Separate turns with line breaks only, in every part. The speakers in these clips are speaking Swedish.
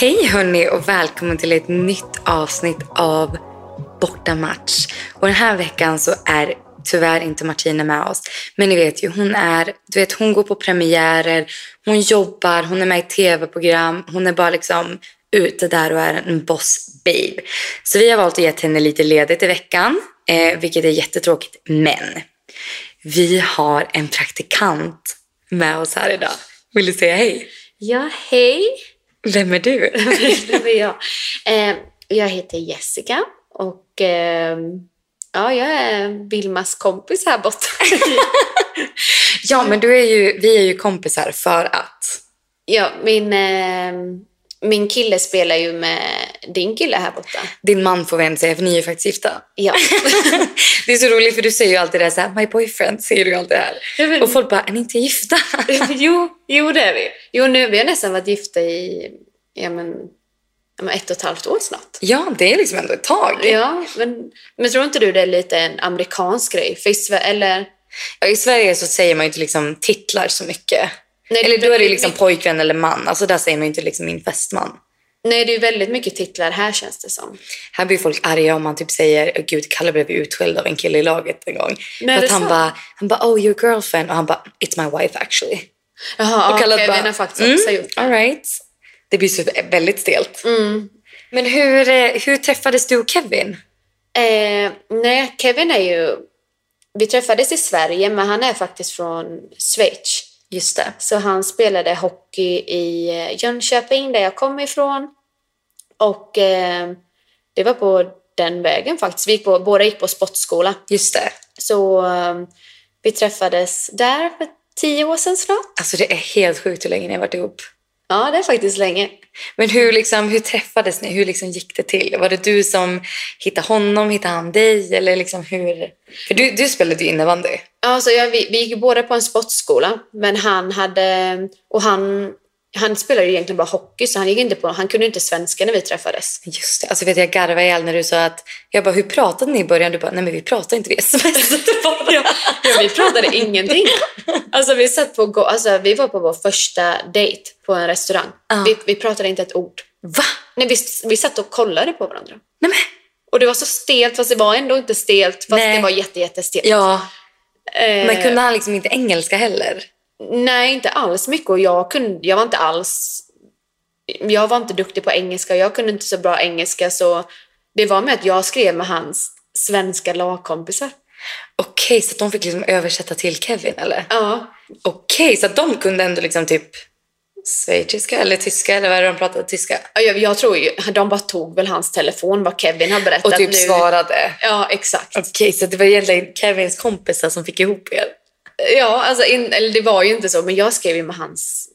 Hej hörni och välkommen till ett nytt avsnitt av Bortamatch. Och den här veckan så är tyvärr inte Martina med oss. Men ni vet ju, hon är, du vet hon går på premiärer, hon jobbar, hon är med i tv-program, hon är bara liksom ute där och är en boss babe. Så vi har valt att ge henne lite ledigt i veckan, eh, vilket är jättetråkigt. Men vi har en praktikant med oss här idag. Vill du säga hej?
Ja, hej!
Vem är du?
Det var jag. Eh, jag heter Jessica och eh, ja, jag är Vilmas kompis här borta.
Ja, men du är ju, vi är ju kompisar för att...
ja, min, eh, min kille spelar ju med din kille här borta.
Din man får vi inte säga, för ni är ju faktiskt gifta.
Ja.
Det är så roligt, för du säger ju alltid det här, så här my boyfriend, säger du ju alltid här. Och folk bara, är ni inte gifta?
jo, jo, det är vi. Jo, nu vi har nästan varit gifta i ja, men, ja, men ett och ett halvt år snart.
Ja, det är liksom ändå ett tag.
Ja, men, men tror inte du det är lite en amerikansk grej? För i Sve- eller,
Ja, I Sverige så säger man ju inte liksom titlar så mycket.
Nej,
Eller då är det
väldigt
liksom
mycket-
pojkvän eller man. Alltså där säger man ju inte liksom min fästman.
Nej, det är ju väldigt mycket titlar här känns det som.
Här blir folk arga om man typ säger "Åh, gud Kalle blev utskälld av en kille i laget en gång.
Nej,
För
det
att
är
han
sant.
bara, han bara oh your girlfriend och han bara it's my wife actually.
Jaha,
Och
okej,
Kalle
okay,
bara,
men har faktiskt också
mm,
gjort det.
all right. Det blir så väldigt stelt.
Mm.
Men hur, eh, hur träffades du och Kevin?
Eh, nej, Kevin är ju... Vi träffades i Sverige, men han är faktiskt från Schweiz.
Just det.
Så han spelade hockey i eh, Jönköping, där jag kommer ifrån. Och eh, det var på den vägen faktiskt. Vi gick på, båda gick på sportskola.
Just det.
Så eh, vi träffades där för tio år sedan snart.
Alltså det är helt sjukt hur länge ni har varit ihop.
Ja, det är faktiskt länge.
Men hur, liksom, hur träffades ni? Hur liksom gick det till? Var det du som hittade honom? Hittade han dig? Eller liksom hur? För du, du spelade ju innebandy.
Alltså, jag, vi, vi gick ju båda på en sportskola, men han hade... Och han, han spelade ju egentligen bara hockey, så han, gick inte på, han kunde inte svenska när vi träffades.
Just det. Alltså vet jag garvade ihjäl när du sa att... Jag bara, hur pratade ni i början? Du bara, nej men vi pratade inte, vi smsade bara.
Ja, vi pratade ingenting. Alltså, vi, satt på, go- alltså, vi var på vår första dejt på en restaurang.
Ja.
Vi, vi pratade inte ett ord.
Va?
Nej, vi, vi satt och kollade på varandra.
Nej men.
Och det var så stelt, fast det var ändå inte stelt. Fast
Nej.
det var jätte, jättestelt.
Ja,
Eh,
men kunde han liksom inte engelska heller?
Nej, inte alls mycket. Och jag, kunde, jag var inte alls... Jag var inte duktig på engelska. Jag kunde inte så bra engelska. Så det var med att jag skrev med hans svenska lagkompisar.
Okej, så att de fick liksom översätta till Kevin eller?
Ja.
Okej, så att de kunde ändå liksom typ schweiziska eller tyska eller vad är det de pratade? Tyska?
Ja, Jag, jag tror ju, de bara tog väl hans telefon, vad Kevin har berättat
Och typ
nu.
svarade.
Ja, exakt.
Okej, så det var egentligen Kevins kompisar som fick ihop er?
Ja, alltså, in, eller det var ju inte så, men jag skrev ju med hans,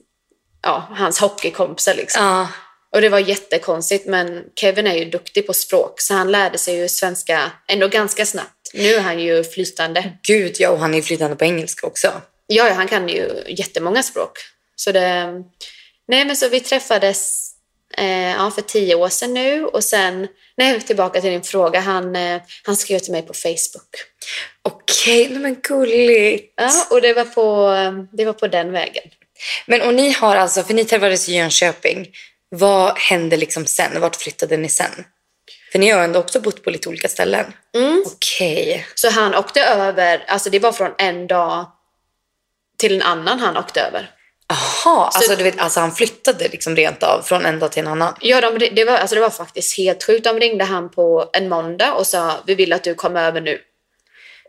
ja, hans hockeykompisar liksom.
Ja.
Och det var jättekonstigt, men Kevin är ju duktig på språk, så han lärde sig ju svenska ändå ganska snabbt. Nu är han ju flytande.
Gud ja, och han är ju flytande på engelska också.
Ja, ja, han kan ju jättemånga språk. Så det, nej, men så vi träffades eh, ja, för tio år sedan nu och sen, nej, tillbaka till din fråga, han, eh, han skrev till mig på Facebook.
Okej, nej men gulligt.
Ja, och det var på, det var på den vägen.
Men och ni har alltså, för ni träffades i Jönköping. Vad hände liksom sen? Vart flyttade ni sen? För ni har ju ändå också bott på lite olika ställen.
Mm.
Okej.
Så han åkte över, alltså det var från en dag till en annan han åkte över.
Jaha, alltså, du vet, alltså han flyttade liksom rent av från en dag till en annan.
Ja, de, det, var, alltså det var faktiskt helt sjukt. De ringde han på en måndag och sa vi vill att du kommer över nu.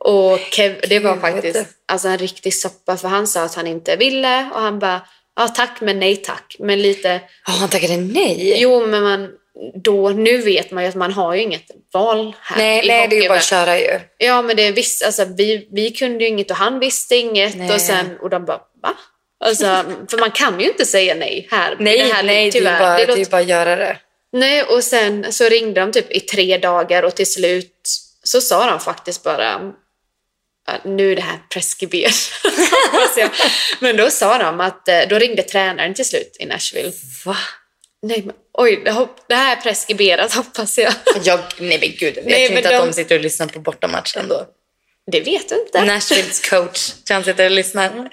Och Kev, det var
Gud, vad
faktiskt
hette?
alltså en riktig soppa för han sa att han inte ville och han bara ja tack men nej tack. Men lite,
Ja, han tackade nej.
jo men man, då, nu vet man ju att man har ju inget val här
nej,
i
nej det är ju bara
hockeyvärlden.
att köra ju.
Ja men det visst, alltså, vi, vi kunde ju inget och han visste inget
Nej.
och sen och de bara va? Alltså, för man kan ju inte säga nej här.
Nej,
det här,
nej, det är ju
tyvärr.
bara,
Det
det är
låter
ju bara att göra det.
Nej, och sen så ringde de typ i tre dagar och till slut så sa de faktiskt bara att nu är det här preskriberat. Hoppas jag. men då sa de att, eh, då ringde tränaren till slut i Nashville.
Va?
Nej, men, oj, det hopp- det här är preskriberat hoppas jag.
Jag, nej men gud, jag
Nej,
tror inte
men
att
de-
de sitter och lyssnar på bortamatchen då.
Det vet du inte.
Nashvilles coach, tror jag han sitter och lyssnar.
Eh,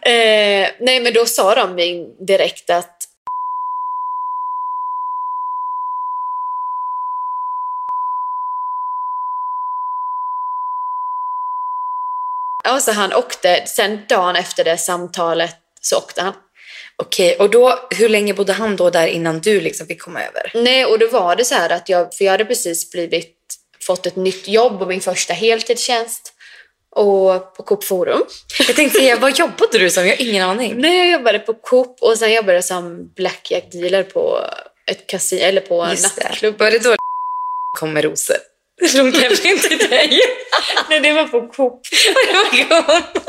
nej, men då sa de direkt att Ja, så han åkte. Sen dagen efter det samtalet så åkte han.
Okej, och då, hur länge bodde han då där innan du liksom fick komma över?
Nej, och då var det så här att jag, för jag hade precis blivit, fått ett nytt jobb och min första heltidstjänst och på Coop Forum.
Jag tänkte säga, vad jobbade du som? Jag har ingen aning.
Nej, jag jobbade på Coop och sen jobbade jag som blackjack dealer på ett kasino, eller på en
Just det.
nattklubb.
Var det då kom med rosor? Det slog kanske inte dig.
Nej, det var på Coop.
Det var gott.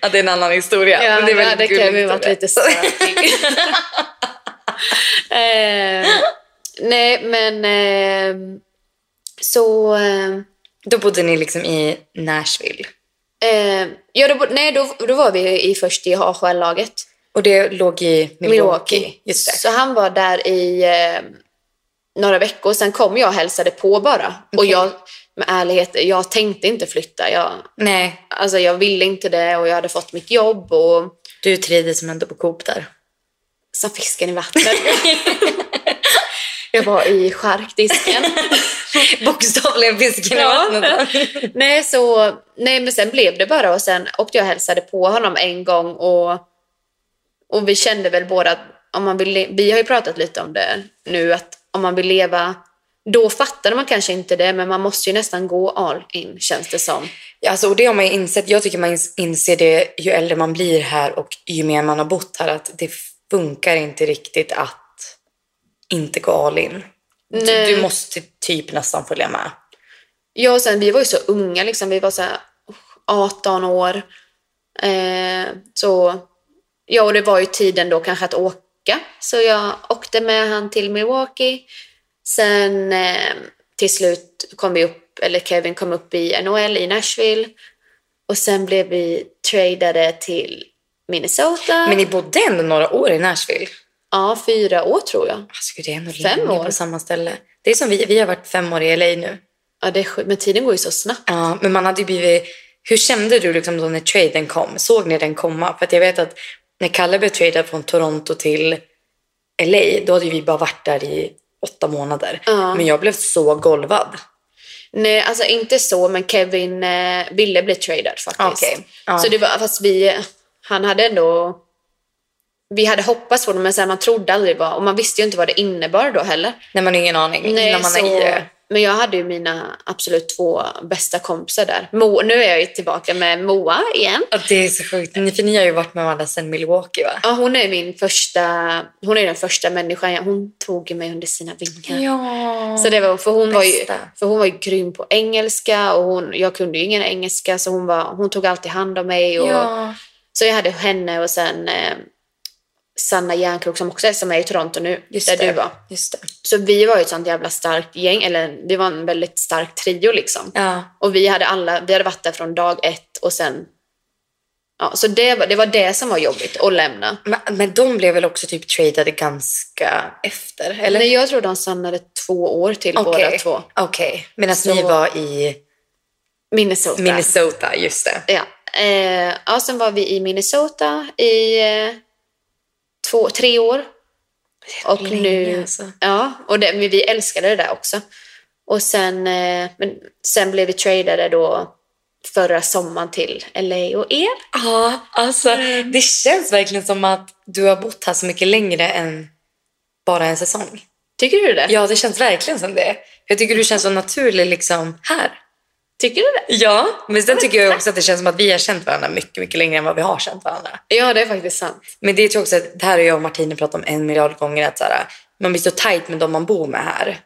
ja, det är en annan historia.
Ja,
men det är
ja,
väldigt
det kan ju
gulligt
ha varit
historia.
lite stökig. eh, nej, men eh, så... Eh,
Då bodde ni liksom i Nashville.
eh, ja, då, bo- nej, då, då var vi i först i AHL-laget.
Och det låg i Milwaukee.
Milwaukee.
Just det.
Så han var där i eh, några veckor, sen kom jag och hälsade på bara. Och
Okej.
jag, med ärlighet, jag tänkte inte flytta. Jag,
Nej,
alltså, jag ville inte det och jag hade fått mitt jobb och
du trivdes som ändå på Coop där.
som fisken i vattnet. jag var i charkdisken.
Bokstavligen fisken i
Ja.
vattnet.
nej, så, nej, men sen blev det bara och sen åkte jag och hälsade på honom en gång och, och vi kände väl båda att om man vill, le- vi har ju pratat lite om det nu, att om man vill leva då fattade man kanske inte det, men man måste ju nästan gå all in känns det som.
Ja, Alltså, och det har man ju insett. Jag tycker man ins- inser det ju äldre man blir här och ju mer man har bott här att det funkar inte riktigt att inte gå all in. Du-
Nej.
Du måste typ nästan följa med.
Ja, och sen vi var ju så unga, liksom. vi var så här, oh, 18 år. Eh, så, ja, och det var ju tiden då kanske att åka, så jag åkte med han till Milwaukee. Sen eh, till slut kom vi upp, eller Kevin kom upp i NHL i Nashville. Och sen blev vi tradade till Minnesota.
Men ni bodde ändå några år i Nashville.
Ja, fyra år tror jag.
Alltså, gud, det är ändå
Fem
länge
år.
på samma ställe. Det är som vi, vi har varit fem år i LA nu.
Ja, det är sjukt, men tiden går ju så snabbt.
Ja, men man hade ju blivit... Hur kände du liksom då när traden kom? Såg ni den komma? För att jag vet att när Kalle blev tradad från Toronto till LA, då hade ju vi bara varit där i åtta månader.
Ja.
Men jag blev så golvad.
Nej, alltså inte så, men Kevin eh, ville bli tradad faktiskt.
Okej, ja.
Så det var, fast vi, han hade ändå, vi hade hoppats på det, men sen man trodde aldrig vad, och man visste ju inte vad det innebar då heller.
När man har ingen aning innan man
så,
är i det.
Men jag hade ju mina absolut två bästa kompisar där. Mo, nu är jag ju tillbaka med Moa igen.
Ja, det är så sjukt. Ni- För ni har ju varit med varandra sedan Milwaukee va?
Ja, hon är min första, hon är den första människan, jag- hon tog mig under sina vingar.
Ja.
Så det var, för, hon var ju,
Bästa.
för hon var ju grym på engelska och hon, jag kunde ju ingen engelska så hon, var, hon tog alltid hand om mig. Och,
ja.
Så jag hade henne och sen eh, Sanna Järnkrok som också är, som är i Toronto nu,
Just
där
det.
du var.
Just det.
Så vi var ju ett sånt jävla starkt gäng, eller vi var en väldigt stark trio liksom.
Ja.
Och vi hade, alla, vi hade varit där från dag ett och sen... Ja, så det var, det var det som var jobbigt, att lämna.
Men, men de blev väl också typ tradade ganska efter? Eller?
Nej, jag tror de stannade två år till båda
Okej.
två.
Okej. Medan
Så-
ni var i
Minnesota.
Minnesota, just det.
Ja. Eh, ja, sen var vi i Minnesota i eh, två, tre år. Och
länge,
nu...
alltså.
Ja, och det, men vi älskade det där också. Och sen, eh, men sen blev vi tradade då förra sommaren till LA och er.
Ja, alltså det känns verkligen som att du har bott här så mycket längre än bara en säsong.
Tycker du det?
Ja, det känns verkligen som det. Jag tycker du känns så naturlig liksom här.
Tycker du det?
Ja, men sen tycker jag också att det känns som att vi har känt varandra mycket, mycket längre än vad vi har känt varandra.
Ja, det är faktiskt sant.
Men det är ju också, att- det här har jag och Martina pratat om en miljard gånger, att så här, man blir så tajt med de man bor med här.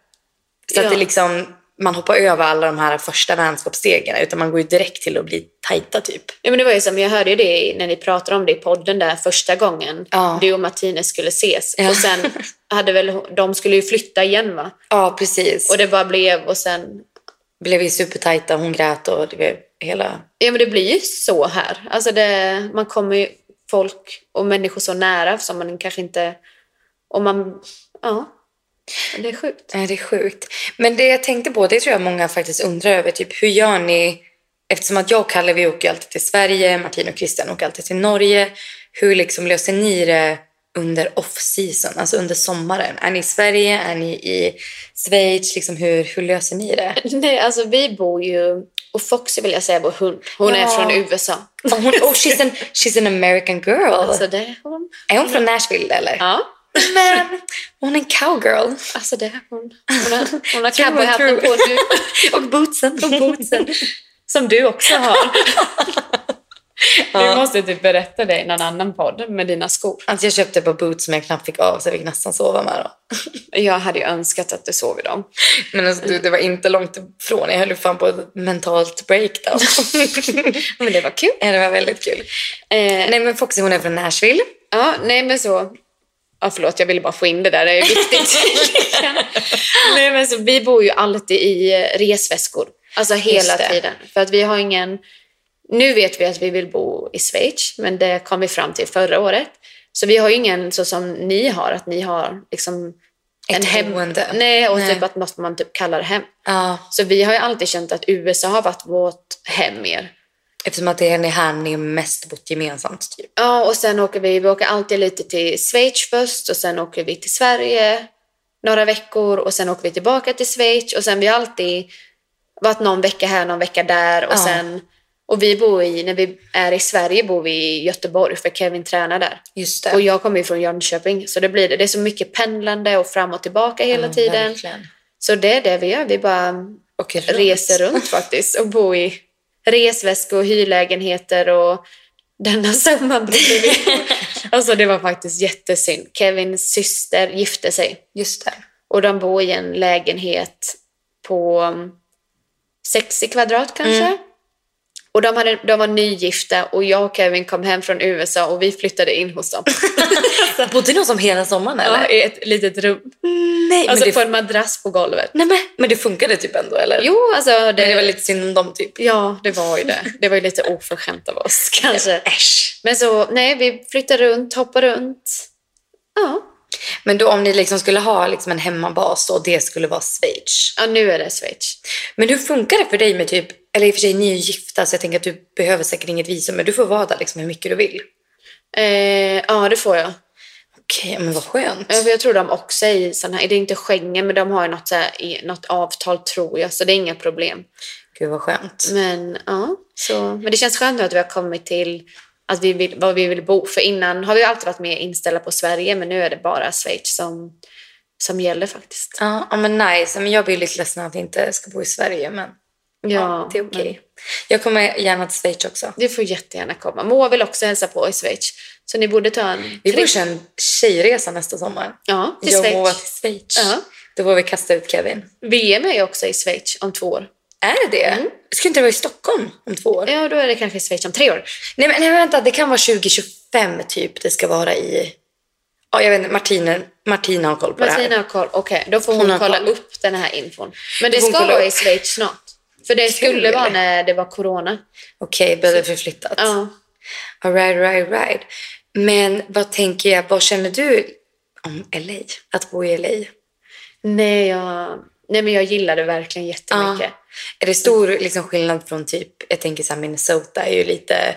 Så
Ja.
att det liksom, man hoppar över alla de här första vänskapsstegen, utan man går ju direkt till att bli tajta typ.
Ja, men det var ju som, jag hörde ju det i- när ni pratade om det i podden där första gången
Ja.
du och Martinez skulle ses.
Ja.
Och sen hade väl, hon- de skulle ju flytta igen va?
Ja, precis.
Och det bara blev och sen
blev vi supertajta, hon grät och det blev hela...
Ja, men det blir ju så här. Alltså det, man kommer ju folk och människor så nära som man kanske inte... Och man... Ja. Det är sjukt.
Nej, det är sjukt. Men det jag tänkte på, det tror jag många faktiskt undrar över, typ hur gör ni? Eftersom att jag och Kalle, vi åker ju alltid till Sverige, Martin och Christian åker alltid till Norge. Hur liksom löser ni det under off-season, alltså under sommaren? Är ni i Sverige? Är ni i Schweiz? Liksom hur, hur löser ni det?
Nej, alltså vi bor ju... Och Foxy vill jag säga vår hund. Hon är
Ja.
från USA.
Och hon, oh, she's, an, she's an American girl.
Alltså det är hon.
är hon från Nashville eller?
Ja.
Men hon är en cowgirl.
Alltså det är hon. Hon har, hon har
True,
cowboyhatten
true.
på nu.
Och bootsen.
Och bootsen. Som du också har.
Ja.
Vi måste typ berätta det i någon annan podd med dina skor.
Alltså jag köpte på boots som jag knappt fick av så jag fick nästan sova med dem.
Jag hade ju önskat att du sov i dem.
Men alltså, du, det var inte långt ifrån. Jag höll ju fan på ett mentalt breakdown.
Men det var kul.
Ja, det var väldigt kul.
Eh,
Nej men Foxy hon är från Nashville.
Ja, nej men så... Ja, förlåt, jag ville bara få in det där. Det är viktigt. nej, men så, vi bor ju alltid i eh, resväskor. Alltså hela
Just det.
tiden. För att vi har ingen... Nu vet vi att vi vill bo i Schweiz, men det kom vi fram till förra året. Så vi har ju ingen så som ni har, att ni har liksom
Ett
en hem...
boende.
Nej, och
Nej.
typ att något man typ kallar hem.
Ja,
Så vi har ju alltid känt att USA har varit vårt hem mer.
eftersom att det är här ni mest bott gemensamt typ.
Ja, och sen åker vi, vi åker alltid lite till Schweiz först och sen åker vi till Sverige några veckor och sen åker vi tillbaka till Schweiz och sen vi har alltid varit någon vecka här, någon vecka där och
Ja.
sen och vi bor i, när vi är i Sverige bor vi i Göteborg för Kevin tränar där.
Just det.
Och jag kommer ju från Jönköping så det blir det. Det är så mycket pendlande och fram och tillbaka hela
Ja,
tiden.
verkligen.
Så det är det vi gör. Vi bara
Och runt.
reser runt faktiskt och bor i resväskor, hyrlägenheter och denna summan brydde vi. Alltså det var faktiskt jättesynd. Kevins syster gifte sig
Just det.
och de bor i en lägenhet på um, 60 kvadrat kanske.
Mm.
Och de, hade, de var nygifta och jag och Kevin kom hem från USA och vi flyttade in hos dem.
Bodde ni som hela sommaren eller?
Ja, I ett litet rum.
Nej,
Alltså
men,
på
det,
en madrass på golvet.
nej men, men det funkade typ ändå eller?
Jo, alltså det,
Men det var lite synd om dem typ.
Ja, det var ju det. Det var ju lite oförskämt av oss
Alltså.
kanske.
Äsch.
Men så, nej, vi flyttar runt, hoppar runt. Ja,
Men då om ni liksom skulle ha liksom en hemmabas och det skulle vara Schweiz.
ja nu är det Schweiz.
Men hur funkar det för dig med typ, eller i och för sig ni är ju gifta så jag tänker att du behöver säkert inget visum men du får vara där liksom hur mycket du vill.
Eh, ja, det får jag.
Okej, men vad skönt.
Ja, för Jag tror de också är i sån här, det är inte Schengen, men de har ju något, så här, i- något avtal tror jag, så det är inga problem.
Gud vad skönt.
Men ja, så, men det känns skönt nu att vi har kommit till att vi vill, var vi vill bo. För innan har vi ju alltid varit mer inställda på Sverige, men nu är det bara Schweiz som, som gäller faktiskt.
Ja, ja, men nice. Men jag blir lite ledsen att jag inte ska bo i Sverige men ja, det är okej.
men-
Jag kommer gärna till Schweiz också.
Du får jättegärna komma. Moa vill också hälsa på i Schweiz. Så ni borde ta en
Vi
tre-
borde köra en tjejresa nästa sommar.
Ja, till
Jag och Moa
Schweiz.
till Schweiz.
Ja.
Då får vi kasta ut Kevin.
VM är ju också i Schweiz om två år.
Är det det?
Mm.
Ska inte det vara i Stockholm om två år?
Ja, då är det kanske i Schweiz om tre år.
Nej men nej, men vänta, det kan vara 2025 typ det ska vara i... Ja, jag vet inte, Martina, Martina har koll på det
Martina
här.
har koll. Okej, då får
Hon
hon,
har
kolla
koll.
upp den här infon. Men det
Hon
ska
kollar
vara i
upp.
Schweiz snart. För det skulle
Kul.
vara när det var corona.
Okej, okay, det förflyttat.
Ja.
All right, right, right. Men vad tänker jag, vad känner du om LA? Att bo i LA?
Nej, jag... Nej, men jag gillar det verkligen jättemycket.
Är det stor liksom, skillnad från typ, jag tänker så här, Minnesota är ju lite,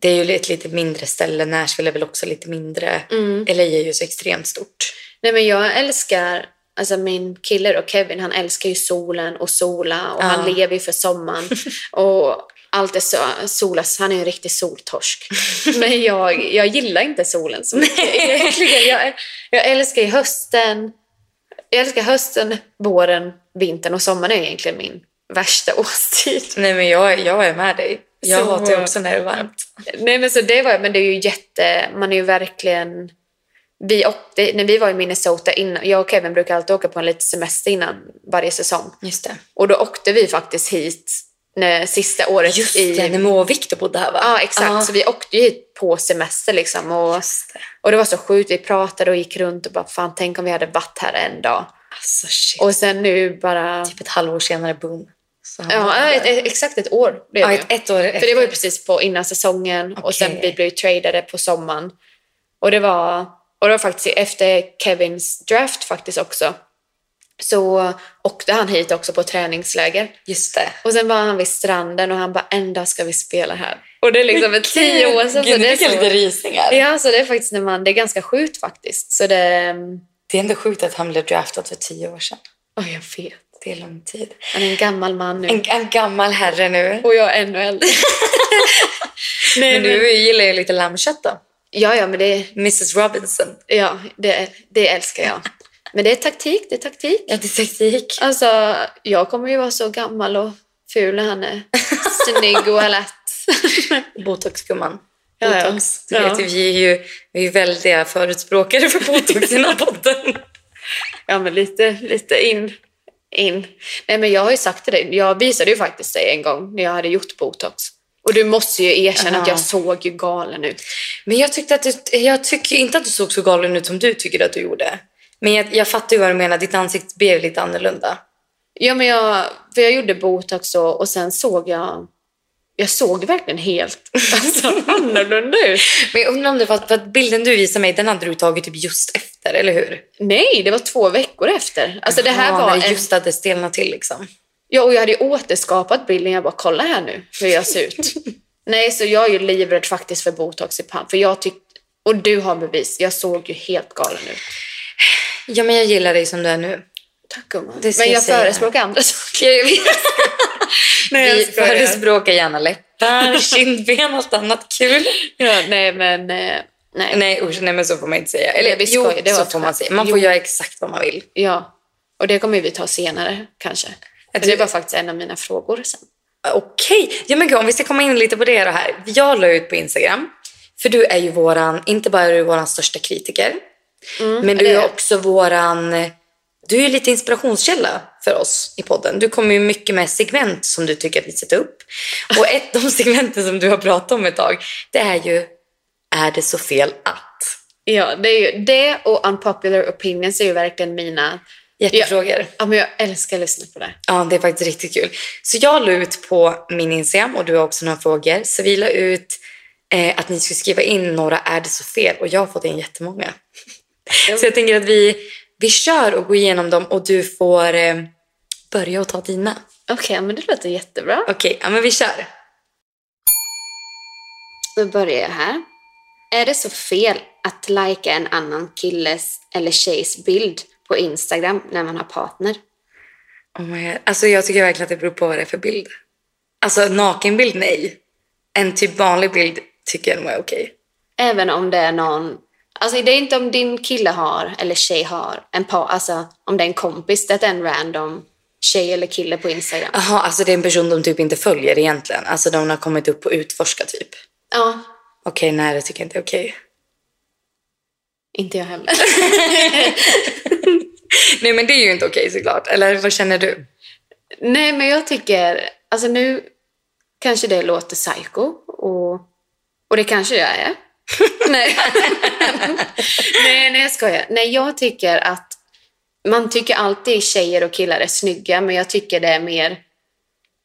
det är ju ett lite mindre ställe, Nashville är väl också lite mindre.
Mm.
LA är ju så extremt stort.
Nej, men jag älskar... Alltså min kille då, Kevin, han älskar ju solen och sola och
Ja.
han lever ju för sommaren. och allt är så, solas, han är ju en riktig soltorsk. Men jag, jag gillar inte solen så mycket egentligen. Jag, jag älskar ju hösten. Jag älskar hösten, våren, vintern och sommaren är egentligen min värsta årstid.
Nej men jag, jag är med dig. Jag
Så-
hatar ju också när det är varmt.
Nej men så det var men det är ju jätte, man är ju verkligen vi åkte, när vi var i Minnesota innan, jag och Kevin brukar alltid åka på en liten semester innan varje säsong.
Just det.
Och då åkte vi faktiskt hit när, sista året
Just
i...
det, när Moa och Victor bodde här va?
Ja exakt,
Ja.
så vi åkte ju hit på semester liksom. Och,
Just det.
och det var så sjukt, vi pratade och gick runt och bara fan tänk om vi hade varit här en dag.
Alltså shit.
Och sen nu bara...
typ ett halvår senare, boom. Så han var
Ja,
där.
ett, ett, exakt ett år blev
ja,
det ju.
ett, ett år
För det var ju precis på innan säsongen och sen
Okej.
vi blev ju tradade på sommaren. Och det var, och det var faktiskt efter Kevins draft faktiskt också. Så åkte han hit också på träningsläger.
Just det.
Och sen var han vid stranden och han bara en dag ska vi spela här. Och det är liksom ett tio år sedan.
Gud,
så
nu
det är
fick jag
så-
lite rysningar.
Ja, så det är faktiskt när man, det är ganska sjukt faktiskt. Så det,
Det är ändå sjukt att han blev draftad för tio år sedan.
åh jag vet.
Det är lång tid.
Han är en gammal man nu.
En, en gammal herre nu.
Mm. Och jag är ännu äldre. Nej,
Men
men
du gillar ju lite lammkött då.
Ja, ja, men det,
Mrs Robinson.
ja, det, det älskar jag. Men det är taktik, det är taktik.
Ja, det är taktik.
Alltså, jag kommer ju vara så gammal och ful när han är snygg och alert.
Botox gumman.
Ja, ja.
Botox. Du
Ja.
vet, ju, vi är ju vi är ju väldiga förespråkare för botox i den här podden.
Ja, men lite, lite in. in. Nej, men jag har ju sagt till dig, jag visade ju faktiskt dig en gång när jag hade gjort botox. Och du måste ju erkänna
Aha.
att jag såg ju galen ut.
Men jag, tyckte att du, jag tycker inte att du såg så galen ut som du tycker att du gjorde. Men jag, jag fattar ju vad du menar, ditt ansikte blev lite annorlunda.
Ja, men jag, för jag gjorde botox och, och sen såg jag... Jag såg verkligen helt alltså, annorlunda ut.
Men jag undrar om det var för att bilden du visade mig, den hade du tagit typ just efter, eller hur?
Nej, det var två veckor efter. Alltså, det här
Ja,
var
när
en,
det just hade stelnat till liksom.
ja, och jag hade ju återskapat bilden. Jag bara, kolla här nu hur jag ser ut. Nej, så jag är ju livrädd faktiskt för botox i pannan. För jag tyckte, och du har bevis, jag såg ju helt galen ut.
Ja, men jag gillar dig som du är nu.
Tack gumman.
Det ska
Men
jag
jag
säga.
förespråkar andra saker.
Vi
skojar.
förespråkar gärna läppar, kindben, allt annat kul.
Ja, nej, men... eh, Nej.
Nej, usch, nej men så får man inte säga. Eller
Nej, vi
jo,
skojar, det var
så
ett
får man
skämt.
säga. Man
Jo.
får göra exakt vad man vill.
Ja. Och det kommer vi ta senare kanske. För
tror-
Det var faktiskt en av mina frågor sen.
Äh, Okej, ja, men gud, om vi ska komma in lite på det då här. Jag la ut på Instagram, för du är ju våran, inte bara är du våran största kritiker, men du
det är
är
jag.
också våran, du är ju lite inspirationskälla för oss i podden. Du kommer ju mycket med segment som du tycker att vi sätter upp. Och ett av segmenten som du har pratat om ett tag, det är ju, är det så fel att?
Ja, det, är ju, det och unpopular opinions är ju verkligen mina...
Hjärtefrågor.
Ja, men jag älskar att lyssna på det.
Ja, det är faktiskt riktigt kul. Så jag la ut på min Instagram, och du har också några frågor, så vi la ut eh, att ni skulle skriva in några är det så fel och jag har fått in jättemånga. Så jag tänker att vi, vi kör och går igenom dem och du får eh, börja och ta dina.
Okej, men det låter jättebra.
Okej, ja men vi kör.
Då börjar jag här. Är det så fel att lajka en annan killes eller tjejs bild på Instagram när man har partner?
Oh my God. Alltså jag tycker verkligen att det beror på vad det är för bild. Alltså nakenbild, nej. En typ vanlig bild tycker jag nog är okej.
Även om det är någon... Alltså det är inte om din kille har, eller tjej har, en par, alltså om det är en kompis, det är en random tjej eller kille på Instagram.
Jaha, alltså det är en person de typ inte följer egentligen. Alltså de har kommit upp och utforskat typ.
Ja,
Okej, nej det tycker jag inte är okej.
inte jag heller.
Nej men det är ju inte okej såklart. Eller vad känner du?
Nej, men jag tycker... Alltså nu kanske det låter psycho och, och det kanske jag är. nej. nej, nej jag skojar. Nej, jag tycker att man tycker alltid tjejer och killar är snygga, men jag tycker det är mer...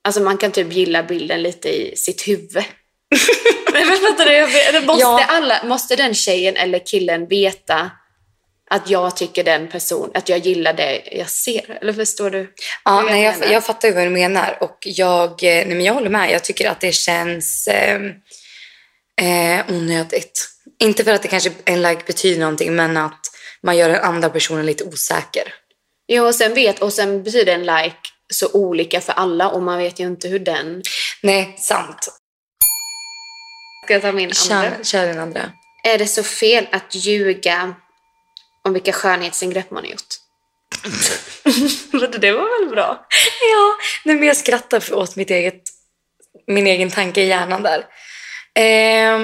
Alltså man kan typ gilla bilden lite i sitt huvud. Nej, men fattar du? Jag vet- Måste,
Ja.
alla, måste den tjejen eller killen veta att jag tycker den person, att jag gillar det jag ser? Eller förstår du?
Ja,
vad
nej, jag,
menar?
jag fattar ju vad du menar och jag, eh, nej, men jag håller med. Jag tycker att det känns eh, eh, onödigt. Inte för att det kanske en like betyder någonting men att man gör den andra personen lite osäker.
Ja, och sen vet, och sen betyder en like så olika för alla och man vet ju inte hur den...
Nej, sant.
Ska jag ta min
Kör, kör den andra.
Är det så fel att ljuga om vilka skönhetsingrepp man har gjort? det var väl bra?
Ja, nej, men jag skrattar för- åt mitt eget, min egen tanke i hjärnan där. Ehm,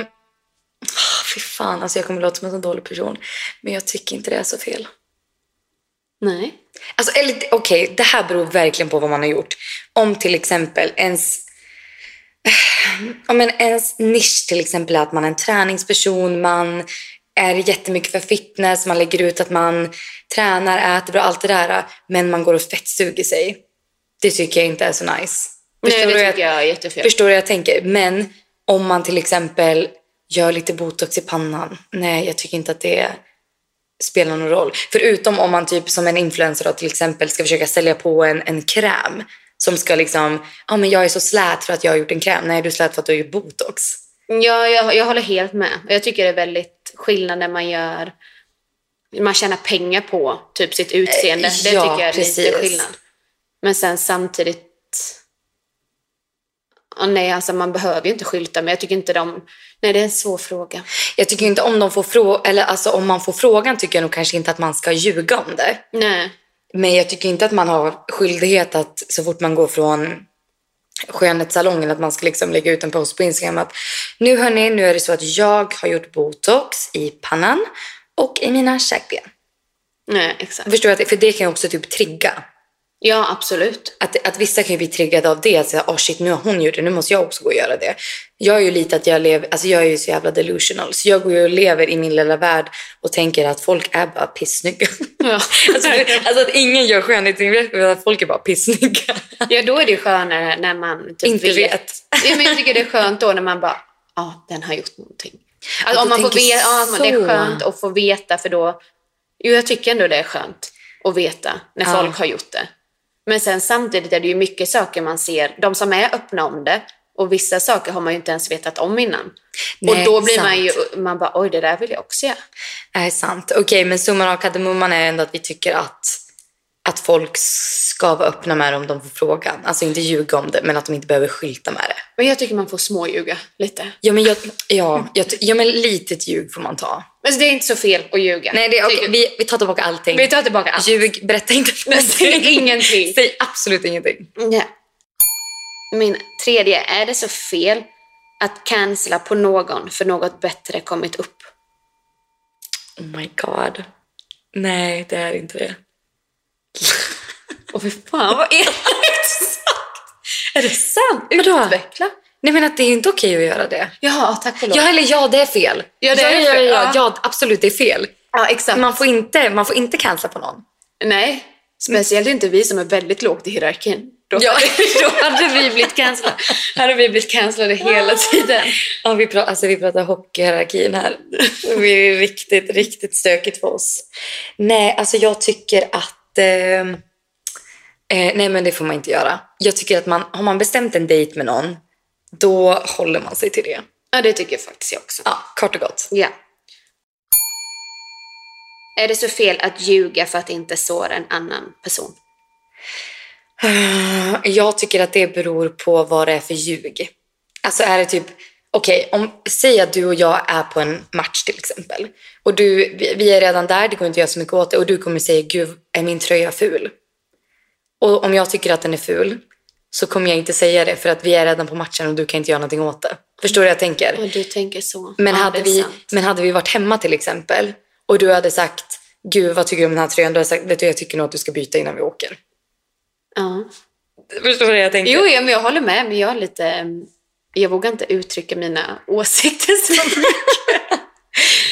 ah, fy fan, alltså jag kommer låta som en sån dålig person. Men jag tycker inte det är så fel.
Nej.
Alltså, eller okej, det här beror verkligen på vad man har gjort. Om till exempel ens... Om en, ens nisch till exempel är att man är en träningsperson, man är jättemycket för fitness, man lägger ut att man tränar, äter bra, allt det där. Men man går och fettsuger sig. Det tycker jag inte är så nice. Förstår du
Nej, det
att-
tycker jag är jättefel.
Förstår du vad jag tänker? Men om man till exempel gör lite botox i pannan. Nej, jag tycker inte att det spelar någon roll. Förutom om man typ som en influencer då, till exempel ska försöka sälja på en, en kräm. Som ska liksom, ja ah, men jag är så slät för att jag har gjort en kräm. Nej, du är slät för att du har gjort botox.
Ja, jag, jag håller helt med. Och Jag tycker det är väldigt skillnad när man gör... Man tjänar pengar på typ sitt utseende.
Eh,
det
ja,
tycker jag är
precis.
lite skillnad. Men sen samtidigt... Ja, nej, alltså man behöver ju inte skylta, men jag tycker inte de... Nej, det är en svår fråga.
Jag tycker inte om de får frå- eller alltså om man får frågan tycker jag nog kanske inte att man ska ljuga om det.
Nej.
Men jag tycker inte att man har skyldighet att så fort man går från skönhetssalongen att man ska liksom lägga ut en post på Instagram att nu hörni, nu är det så att jag har gjort botox i pannan och i mina käkben.
Nej, exakt.
Förstår du? att- För det kan ju också typ trigga.
Ja, absolut.
Att, att vissa kan ju bli triggade av det. Att säga, oh shit, nu har hon gjort det, nu måste jag också gå och göra det. Jag är ju lite att jag lever, alltså jag är ju så jävla delusional. Så jag går ju och lever i min lilla värld och tänker att folk är bara pissnygga.
Ja.
Alltså, det- alltså att ingen gör skönhetsingrepp utan att folk är bara pissnygga.
ja, då är det ju skönare när man typ
Inte vet.
Ja, men jag tycker det är skönt då när man bara, ja, den har gjort någonting.
du
Alltså, om man får
tänker
veta, ja, men det
så.
är skönt att få veta för då, jo jag tycker ändå det är skönt att veta när
Ja.
folk har gjort det. Men sen samtidigt är det ju mycket saker man ser, de som är öppna om det och vissa saker har man ju inte ens vetat om innan.
Nej,
och då blir
sant.
man ju, man bara oj det där vill jag också göra.
är sant. Okej, men summan av kardemumman är ändå att vi tycker att, att folk ska vara öppna med det om de får frågan. Alltså inte ljuga om det, men att de inte behöver skylta med det.
Men jag tycker man får småljuga lite.
Ja, men, jag, ja, jag, ja, men litet ljug får man ta.
Men Alltså, det är inte så fel att ljuga.
Nej, det, är- okej, vi, vi tar tillbaka allting.
Vi tar tillbaka allt.
Ljug, berätta inte någonting.
Ingenting.
Säg absolut ingenting.
Ja. Min tredje, är det så fel att cancella på någon för något bättre kommit upp?
Oh my god. Nej, det är inte det.
Och fy fan vad elakt sagt! Är det sant?
Vadå?
Utveckla.
Nej, men att det är inte okej att göra det.
Ja, tack och lov.
Ja, eller ja, det är fel.
Ja, det är
ja, ja,
fel,
ja,
ja.
ja, absolut, det är fel.
Ja, exakt.
Man får inte, man får inte cancella på någon.
Nej, speciellt inte vi som är väldigt lågt i hierarkin. Då,
Ja.
då hade vi blivit cancellade. Hade vi blivit cancellade hela tiden.
Ja, vi, pratar, alltså, vi pratar hockeyhierarkin här. Det är riktigt, riktigt stökigt för oss. Nej, alltså jag tycker att... Eh, eh, nej, men det får man inte göra. Jag tycker att man, har man bestämt en dejt med någon, då håller man sig till det.
Ja, det tycker faktiskt jag också.
Ja, kort och gott.
Ja. Är det så fel att ljuga för att inte såra en annan person?
Jag tycker att det beror på vad det är för ljug. Alltså är det typ, okej, om säg att du och jag är på en match till exempel. Och du, vi- vi är redan där, det går inte att göra så mycket åt det. Och du kommer säga, gud, är min tröja ful? Och om jag tycker att den är ful så kommer jag inte säga det för att vi är redan på matchen och du kan inte göra någonting åt det. Förstår du vad jag tänker?
Ja, du tänker så.
Men,
ja,
hade
det är
vi,
sant.
men hade vi varit hemma till exempel och du hade sagt, gud vad tycker du om den här tröjan? Då hade jag sagt, vet du jag tycker nog att du ska byta innan vi åker.
Ja.
Förstår du vad jag tänker?
Jo, ja, men jag håller med, men jag är lite... mm, Jag vågar inte uttrycka mina åsikter så mycket.
Jag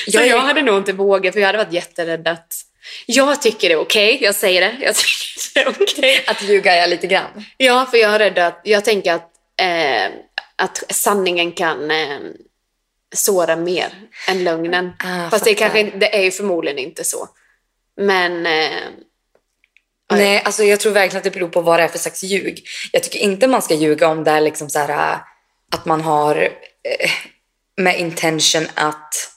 jag,
är-
jag hade nog inte vågat, för jag hade varit jätterädd att... Jag tycker det är okej, jag säger det. Jag tycker det är okej.
Att ljuga jag lite grann.
Ja, för jag är rädd att... Jag tänker att, eh, att sanningen kan eh, såra mer än lögnen.
Ah,
Fast det,
fattar.
kanske, inte- det är ju förmodligen inte så. Men... Eh, Ja, ja.
Nej, alltså jag tror verkligen att det beror på vad det är för slags ljug. Jag tycker inte man ska ljuga om det är liksom så här, äh, att man har eh, med intention att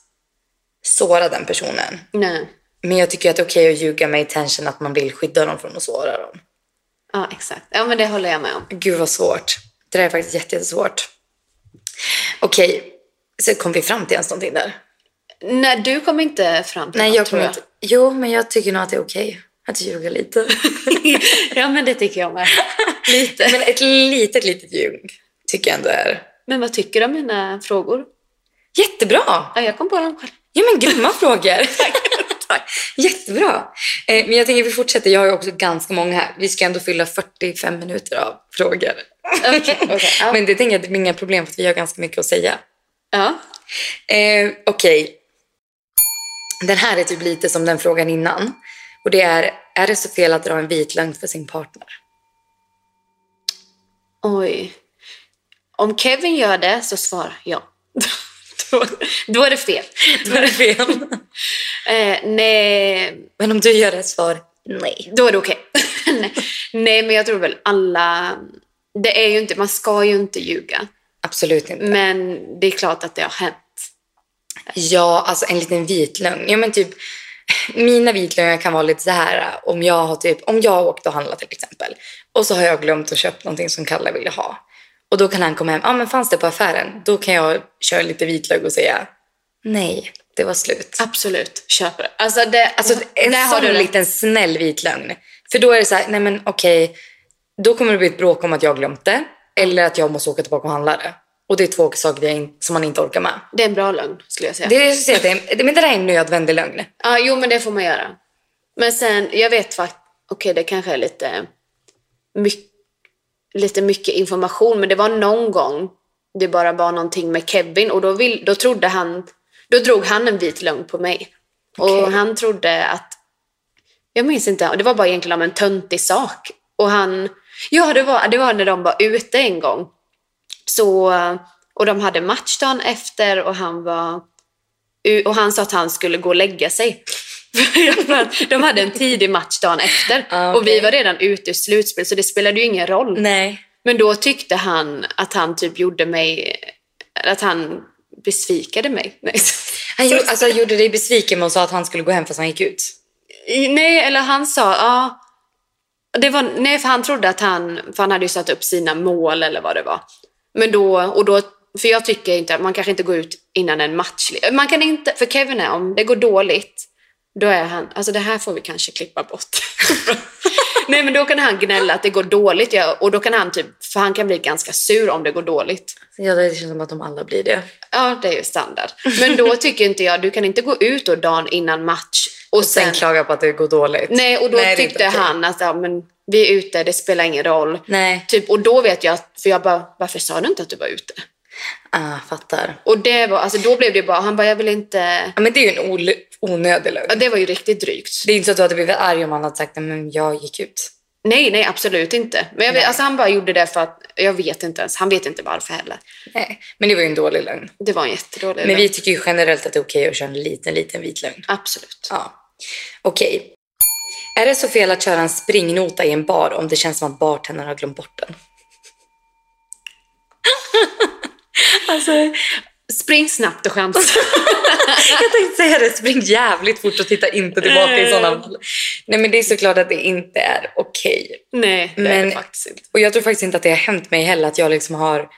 såra den personen.
nej.
Men jag tycker att det är okej att ljuga med intention att man vill skydda dem från att såra dem.
Ja, exakt. Ja, men det håller jag med om.
Gud vad svårt. Det där är faktiskt jätte- jättesvårt. Okej, så kom vi fram till ens någonting där?
Nej, du kom inte fram till
Nej,
något,
jag
tror
kommer inte... Jo, men jag tycker nog att det är okej att ljuga lite.
ja, men det tycker jag med.
lite. Men ett litet, litet ljug tycker jag ändå är...
Men vad tycker du om mina frågor?
Jättebra!
Ja, jag kom på dem själv.
Ja men grymma frågor! Tack. Jättebra! Eh, men jag tänker vi fortsätter, jag har ju också ganska många här. Vi ska ändå fylla 45 minuter av frågor.
Okej, okej, ja.
Men det tänker jag att det blir inga problem för att vi har ganska mycket att säga.
Ja.
Eh, Okej. Den här är typ lite som den frågan innan. Och det är, är det så fel att dra en vit lögn för sin partner?
Oj. Om Kevin gör det så svarar jag. då, då är det fel.
Då är det fel.
Eh, nej,
men om du gör ett svar, nej.
då är det okej. nej. nej, men jag tror väl alla... Det är ju inte, man ska ju inte ljuga.
Absolut inte.
Men det är klart att det har hänt.
Ja, alltså en liten vitlögn. Ja, men typ, mina vitlögnar kan vara lite så här. Om jag har typ, om jag har åkt och handlat till exempel Och så har jag glömt att köpa någonting som Kalle ville ha. Och då kan han komma hem. Ja, ah, men fanns det på affären? Då kan jag köra lite vitlögg och säga nej, det var slut.
Absolut, köp det. Alltså, det,
Alltså en
där har
sån
du det.
liten snäll vit lögn. För då är det så här, nej men okej, då kommer det bli ett bråk om att jag glömt det eller att jag måste åka tillbaka och handla det. Och det är två saker jag in, som man inte orkar med.
det är en bra lögn skulle jag säga.
Det, är det, jag skulle säga, att det, är- men det där är en nödvändig lögn.
Ja, jo, men det får man göra. Men sen, jag vet faktiskt, okej det kanske är lite, mycket, lite mycket information, men det var någon gång det bara var någonting med Kevin och då, vill, då trodde han, då drog han en vit lögn på mig. Och
Okej.
han trodde att, jag minns inte, det var bara egentligen om en töntig sak. Och han, ja det var, det var när de var ute en gång. Så, och de hade match dagen efter och han var och han sa att han skulle gå och lägga sig. För att de hade en tidig match dagen efter
Ah, okej. Mm.
och vi var redan ute ur slutspel så det spelade ju ingen roll.
Nej.
Men då tyckte han att han typ gjorde mig, att han besvikade mig. Nej,
Han gjorde, alltså, han gjorde dig besviken med att sa att han skulle gå hem fast han gick ut.
nej eller han sa, ja. Det var, nej, för han trodde att han, för han hade ju satt upp sina mål eller vad det var. Men då, och då, för jag tycker inte att man kanske inte går ut innan en match. Man kan inte, för Kevin är om det går dåligt, då är han, alltså det här får vi kanske klippa bort. nej men då kan han gnälla att det går dåligt ja, och då kan han typ, för han kan bli ganska sur om det går dåligt.
Så Ja, det känns som att de alla blir det.
Ja, det är ju standard. Men då tycker inte jag, du kan inte gå ut då dagen innan match och,
Och sen,
sen...
klaga på att det går dåligt.
nej, och då
det är
tyckte
inte okej.
han att ja, men, vi är ute, det spelar ingen roll.
Nej,
Typ, och då vet jag, att- för jag bara, varför sa du inte att du var ute?
ah, fattar.
Och det var, alltså då blev det bara, han bara, jag vill inte...
Ja, men det är ju en ol- onödig lögn.
Ja, det var ju riktigt drygt.
Det är inte så att du hade blivit arg om han hade sagt "Nej, men jag gick ut.
Nej, nej, absolut inte. Men jag vet,
Nej.
alltså, han bara gjorde det för att, jag vet inte ens, han vet inte varför heller.
Nej, men det var ju en dålig lögn.
Det var en jättedålig
Men
idé.
vi tycker ju generellt att det är okej att köra en liten, liten vit lögn.
Absolut.
Ja. Okej. Är det så fel att köra en springnota i en bar om det känns som att bartendern har glömt bort den? alltså,
Spring snabbt och chansa.
jag tänkte säga det. Spring jävligt fort och titta inte tillbaka i sådana fall. Nej, men det är såklart att det inte är okej.
nej, det är
Men-
det faktiskt inte.
Och jag tror faktiskt inte att det har hänt mig heller att jag liksom har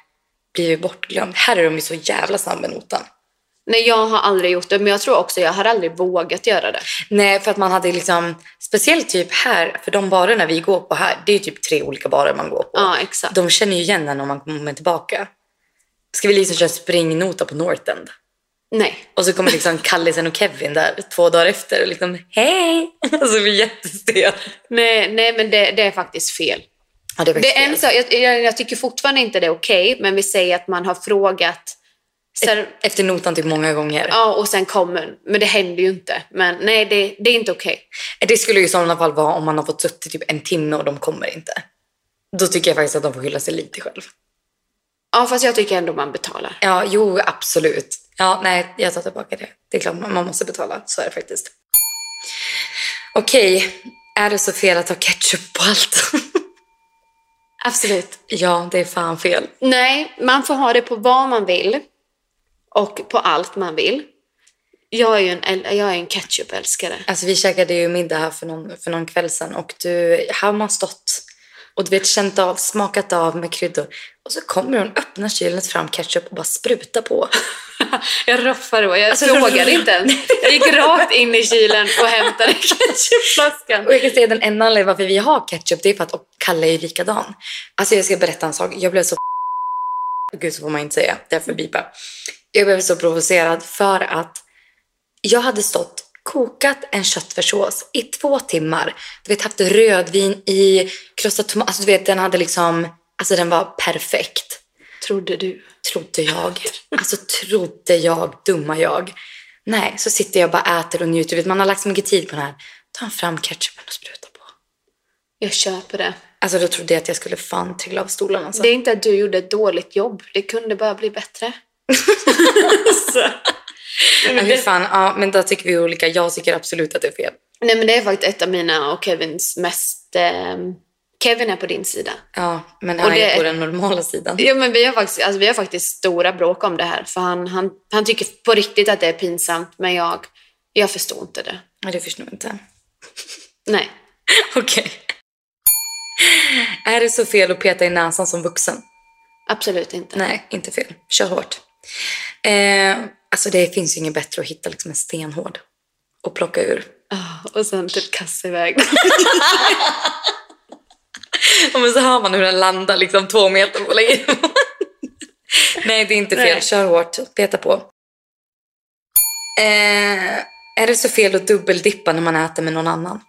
blivit bortglömd. Här är de ju så jävla snabba med notan.
Nej, jag har aldrig gjort det, men jag tror också jag har aldrig vågat göra det.
Nej, för att man hade liksom, speciellt typ här, för de barerna vi går på här, det är ju typ tre olika barer man går på.
Ja, exakt.
De känner ju igen en om man kommer tillbaka. Ska vi liksom köra springnota på North End?
Nej.
Och så kommer liksom Kallisen och Kevin där två dagar efter och liksom hej! Alltså det blir jättestelt.
Nej, nej men det, det är faktiskt fel.
Ja, det är
Det är en
faktiskt
sak, jag, jag, jag tycker fortfarande inte det är okej, men vi säger att man har frågat ser,
fel. Efter notan typ många gånger.
ja, och sen kommer, men det händer ju inte. Men nej, det, det är inte okej.
Det skulle ju i sådana fall vara om man har fått suttit typ en timme och de kommer inte. Då tycker jag faktiskt att de får skylla sig lite själv.
Ja, fast jag tycker ändå man betalar.
Ja, jo, absolut. Ja, nej, jag tar tillbaka det. Det är klart, man man måste betala. Så är det faktiskt. Okej, är det så fel att ha ketchup på allt?
Absolut.
ja, det är fan fel.
Nej, man får ha det på vad man vill och på allt man vill. Jag är ju en, äl- jag är en ketchupälskare.
Alltså, vi käkade ju middag här för någon, för någon kväll sedan och du, här har man stått och du vet, känt av, smakat av med kryddor. Och så kommer hon, öppnar kylet fram ketchup och bara sprutar på.
Jag roffade och jag
Alltså,
frågade
roffade.
inte ens. Jag gick rakt in i kylen och hämtade ketchupflaskan.
Och jag kan säga den enda anledningen varför vi har ketchup, det är för att och Kalle är likadan. Alltså jag ska berätta en sak. Jag blev så Gud så får man inte säga, därför bipa. Jag blev så provocerad för att jag hade stått kokat en köttfärssås i två timmar. Du vet haft rödvin i, krossat tomat, alltså du vet den hade liksom, alltså den var perfekt.
Trodde du?
Trodde jag. Alltså trodde jag, dumma jag. Nej, så sitter jag och bara äter och njuter. Du vet, Man har lagt så mycket tid på den här. Ta fram ketchupen och spruta på.
Jag köper det.
Alltså då trodde jag att jag skulle fan trilla av stolen. Alltså.
Det är inte att du gjorde ett dåligt jobb. Det kunde bara bli bättre. Så. Nej,
Ja,
men
fy
det,
fan, ja, men där tycker vi olika. Jag tycker absolut att det är fel.
nej, men det är faktiskt ett av mina och Kevins mest... ehm, Kevin är på din sida.
Ja, men
Och
han
det-
är på den normala sidan.
Ja, men vi, har faktiskt, alltså, vi har faktiskt stora bråk om det här. För han, han, han tycker på riktigt att det är pinsamt, men jag, jag förstår inte det.
Ja, det förstår jag inte.
Nej.
Okej. Är det så fel att peta i näsan som vuxen?
Absolut inte.
Nej, inte fel. Kör hårt. Eh, alltså det finns ju inget bättre att hitta liksom en stenhård och plocka ur.
Ah, och sen typ kasta iväg.
Och men så hör man hur den landar liksom två meter på längre. Nej, det är inte fel.
Nej.
Kör hårt. Peta på. Eh, är det så fel att dubbeldippa när man äter med någon annan?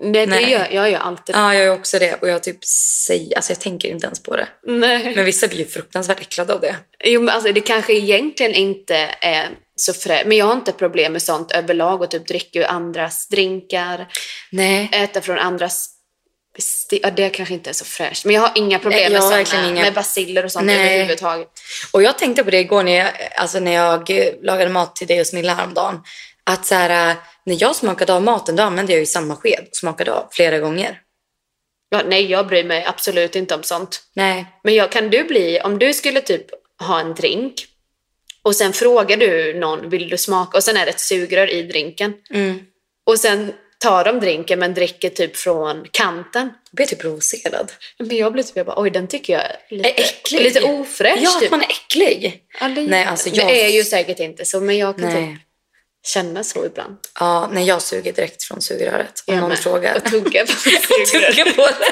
Nej, det
Nej.
gör jag gör alltid.
Ja, jag gör också det. Och jag typ säger, alltså jag tänker inte ens på det.
Nej.
Men vissa blir ju fruktansvärt äcklade av det.
Jo, men alltså, det kanske egentligen inte är så frä... Men jag har inte problem med sånt överlag och typ dricka ur andras drinkar,
Nej.
äta från andras... besti- Ja, det kanske inte är så fräscht. Men jag har inga problem
Nej, jag
med,
har
såna,
Eh, verkligen inga-
med basiller och sånt
Nej.
överhuvudtaget.
Och jag tänkte på det igår när jag, alltså när jag eh, lagade mat till dig och Smilla häromdagen. Att så här, eh, när jag smakade av maten då använde jag ju samma sked och smakade av flera gånger.
Ja, nej, jag bryr mig absolut inte om sånt.
Nej.
Men jag, kan du bli, om du skulle typ ha en drink och sen frågar du någon, vill du smaka? Och sen är det ett sugrör i drinken.
Mm.
Och sen tar de drinken men dricker typ från kanten.
Jag blir typ provocerad.
Men jag blir typ, jag bara, oj den tycker jag är lite,
Är äcklig.
lite ofräsch.
Ja, att
typ.
man är äcklig.
Ja, lite.
Nej, alltså
Men
jag-
Det är ju säkert inte så, men jag kan typ
Nej.
känna så ibland.
Ja, nej, jag suger direkt från sugröret om
Jag
någon
med.
frågar.
Och tugga på sugrör.
tugga på det.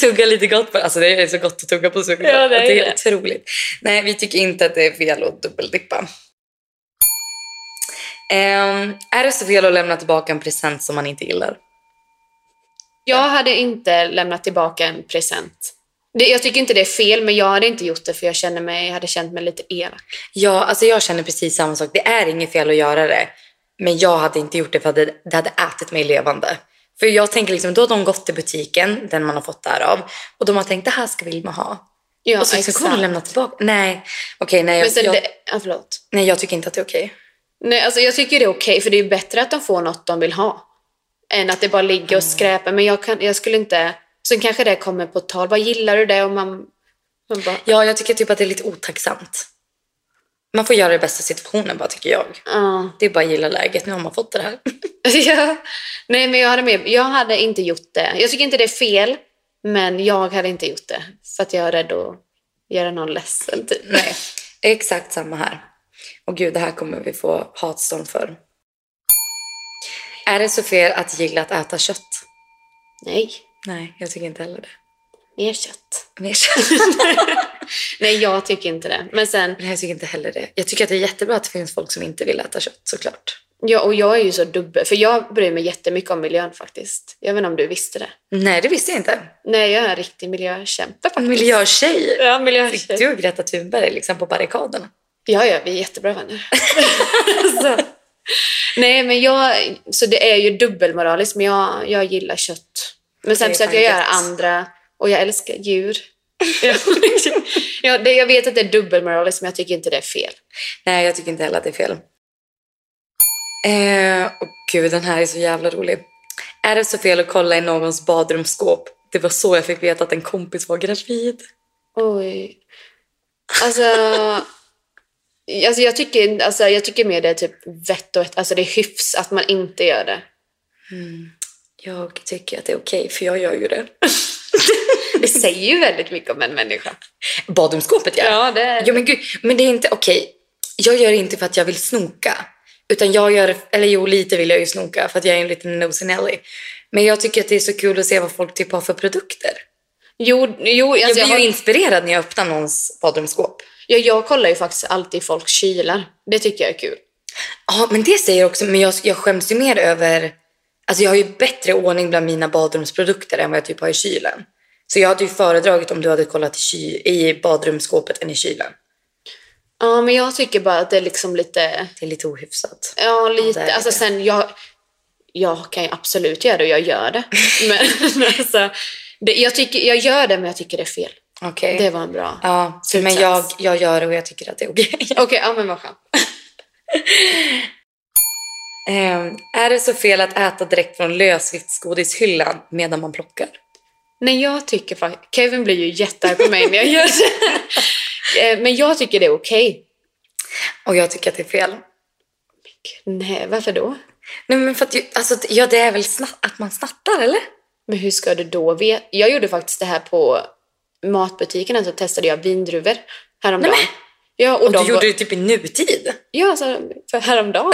tugga lite gott på det. Alltså det är så gott att tugga på sugrör.
Ja, det är
är otroligt. Nej, vi tycker inte att det är fel att dubbeldippa. Ehm, är det så fel att lämna tillbaka en present som man inte gillar?
Jag hade inte lämnat tillbaka en present. Det, jag tycker inte det är fel, men jag hade inte gjort det för jag känner mig, jag hade känt mig lite elak.
Ja, alltså jag känner precis samma sak. Det är inget fel att göra det. Men jag hade inte gjort det för att det, det hade ätit mig levande. För jag tänker liksom, då har de gått till butiken, den man har fått därav. Och de har tänkt, det här ska Vilma ha.
Ja,
och så, så kommer de lämna tillbaka. Nej, okej, nej,
Men
jag,
sen
jag,
det, ja, förlåt.
nej, jag tycker inte att det är okej.
Nej, alltså jag tycker det är okej, för det är ju bättre att de får något de vill ha. Än att det bara ligger och skräpar. Men jag, kan, jag skulle inte... Sen kanske det kommer på tal. Vad gillar du det? Och man, man bara...
Ja, jag tycker typ att det är lite otacksamt. Man får göra det bästa av situationen bara, tycker jag.
Ja.
Det är bara att gilla läget. Nu har man fått det här.
ja. Nej, men jag hade, med, jag hade inte gjort det. Jag tycker inte det är fel, men jag hade inte gjort det. För att jag är rädd att göra någon ledsen. Typ.
Nej, exakt samma här. Och gud, det här kommer vi få hatstorm för. Är det så fel att gilla att äta kött?
Nej,
Nej, jag tycker inte heller det.
mer kött.
Mer kött.
Nej, jag tycker inte det. Men sen,
Nej, jag tycker inte heller det. Jag tycker att det är jättebra att det finns folk som inte vill äta kött, såklart.
ja, och jag är ju så dubbel. För jag bryr mig jättemycket om miljön faktiskt. Jag vet inte om du visste det.
Nej, det visste jag inte.
Nej, jag är en riktig miljökämpe.
En miljötjej.
Ja,
Du
miljökämpe.
och Greta Thunberg liksom på barrikaderna.
Ja, ja, vi är jättebra vänner. så. Nej, men jag, så det är ju dubbelmoraliskt, men jag, jag gillar kött. Men
Det
sen
är
försöker
fan
jag göra
gött.
andra, och jag älskar djur. ja, det, jag vet att det är dubbelmoraliskt, men jag tycker inte det är fel.
Nej, jag tycker inte heller att det är fel. Eh, och gud, den här är så jävla rolig. Är det så fel att kolla i någons badrumsskåp? Det var så jag fick veta att en kompis var gravid.
Oj. Alltså, alltså, jag, tycker, alltså jag tycker mer det är typ vett och ett, alltså det är hyfs att man inte gör det.
Jag tycker att det är okej, för jag gör ju det.
Det säger ju väldigt mycket om en människa.
Badrumsskåpet, ja.
Ja, det är
Jo, men gud, men det är inte okej. Jag gör det inte för att jag vill snoka. Utan jag gör, eller jo, lite vill jag ju snoka för att jag är en liten nosy Nelly. Men jag tycker att det är så kul att se vad folk typ har för produkter.
Jo, jo alltså
Jag blir
jag, har,
ju inspirerad när jag öppnar någons badrumsskåp.
jag, jag kollar ju faktiskt alltid i folks kylar. Det tycker jag är kul.
Ja, men det säger jag också, men jag, jag skäms ju mer över... Alltså jag har ju bättre ordning bland mina badrumsprodukter än vad jag typ har i kylen. Så jag hade ju föredragit om du hade kollat i, ky, i badrumsskåpet än i kylen.
Ja, men jag tycker bara att det är liksom lite...
Det är lite ohyfsat.
Ja, lite.
Ja, det är
alltså
det.
sen, jag, jag kan ju absolut göra det och jag gör det. Men alltså, det, jag, tycker, jag gör det men jag tycker det är fel.
Okej.
Det var en bra...
Ja, men
Slutsats.
jag, jag gör det och jag tycker att det är okej.
Okej, ja men vad skönt.
Ehm, är det så fel att äta direkt från lösviktsgodishyllan medan man plockar?
Nej, jag tycker faktiskt... Kevin blir ju jättearg på mig när jag gör det. Eh, men jag tycker det är okej.
Och jag tycker att det är fel.
Nej, varför då?
Nej men för att, ju- alltså, ja det är väl snatt, att man snattar eller?
Men hur ska du då veta? Jag gjorde faktiskt det här på matbutikerna så testade jag vindruvor häromdagen.
Nej,
ja, och
Och
de
du gjorde
var,
det typ i nutid.
ja, alltså, för häromdagen.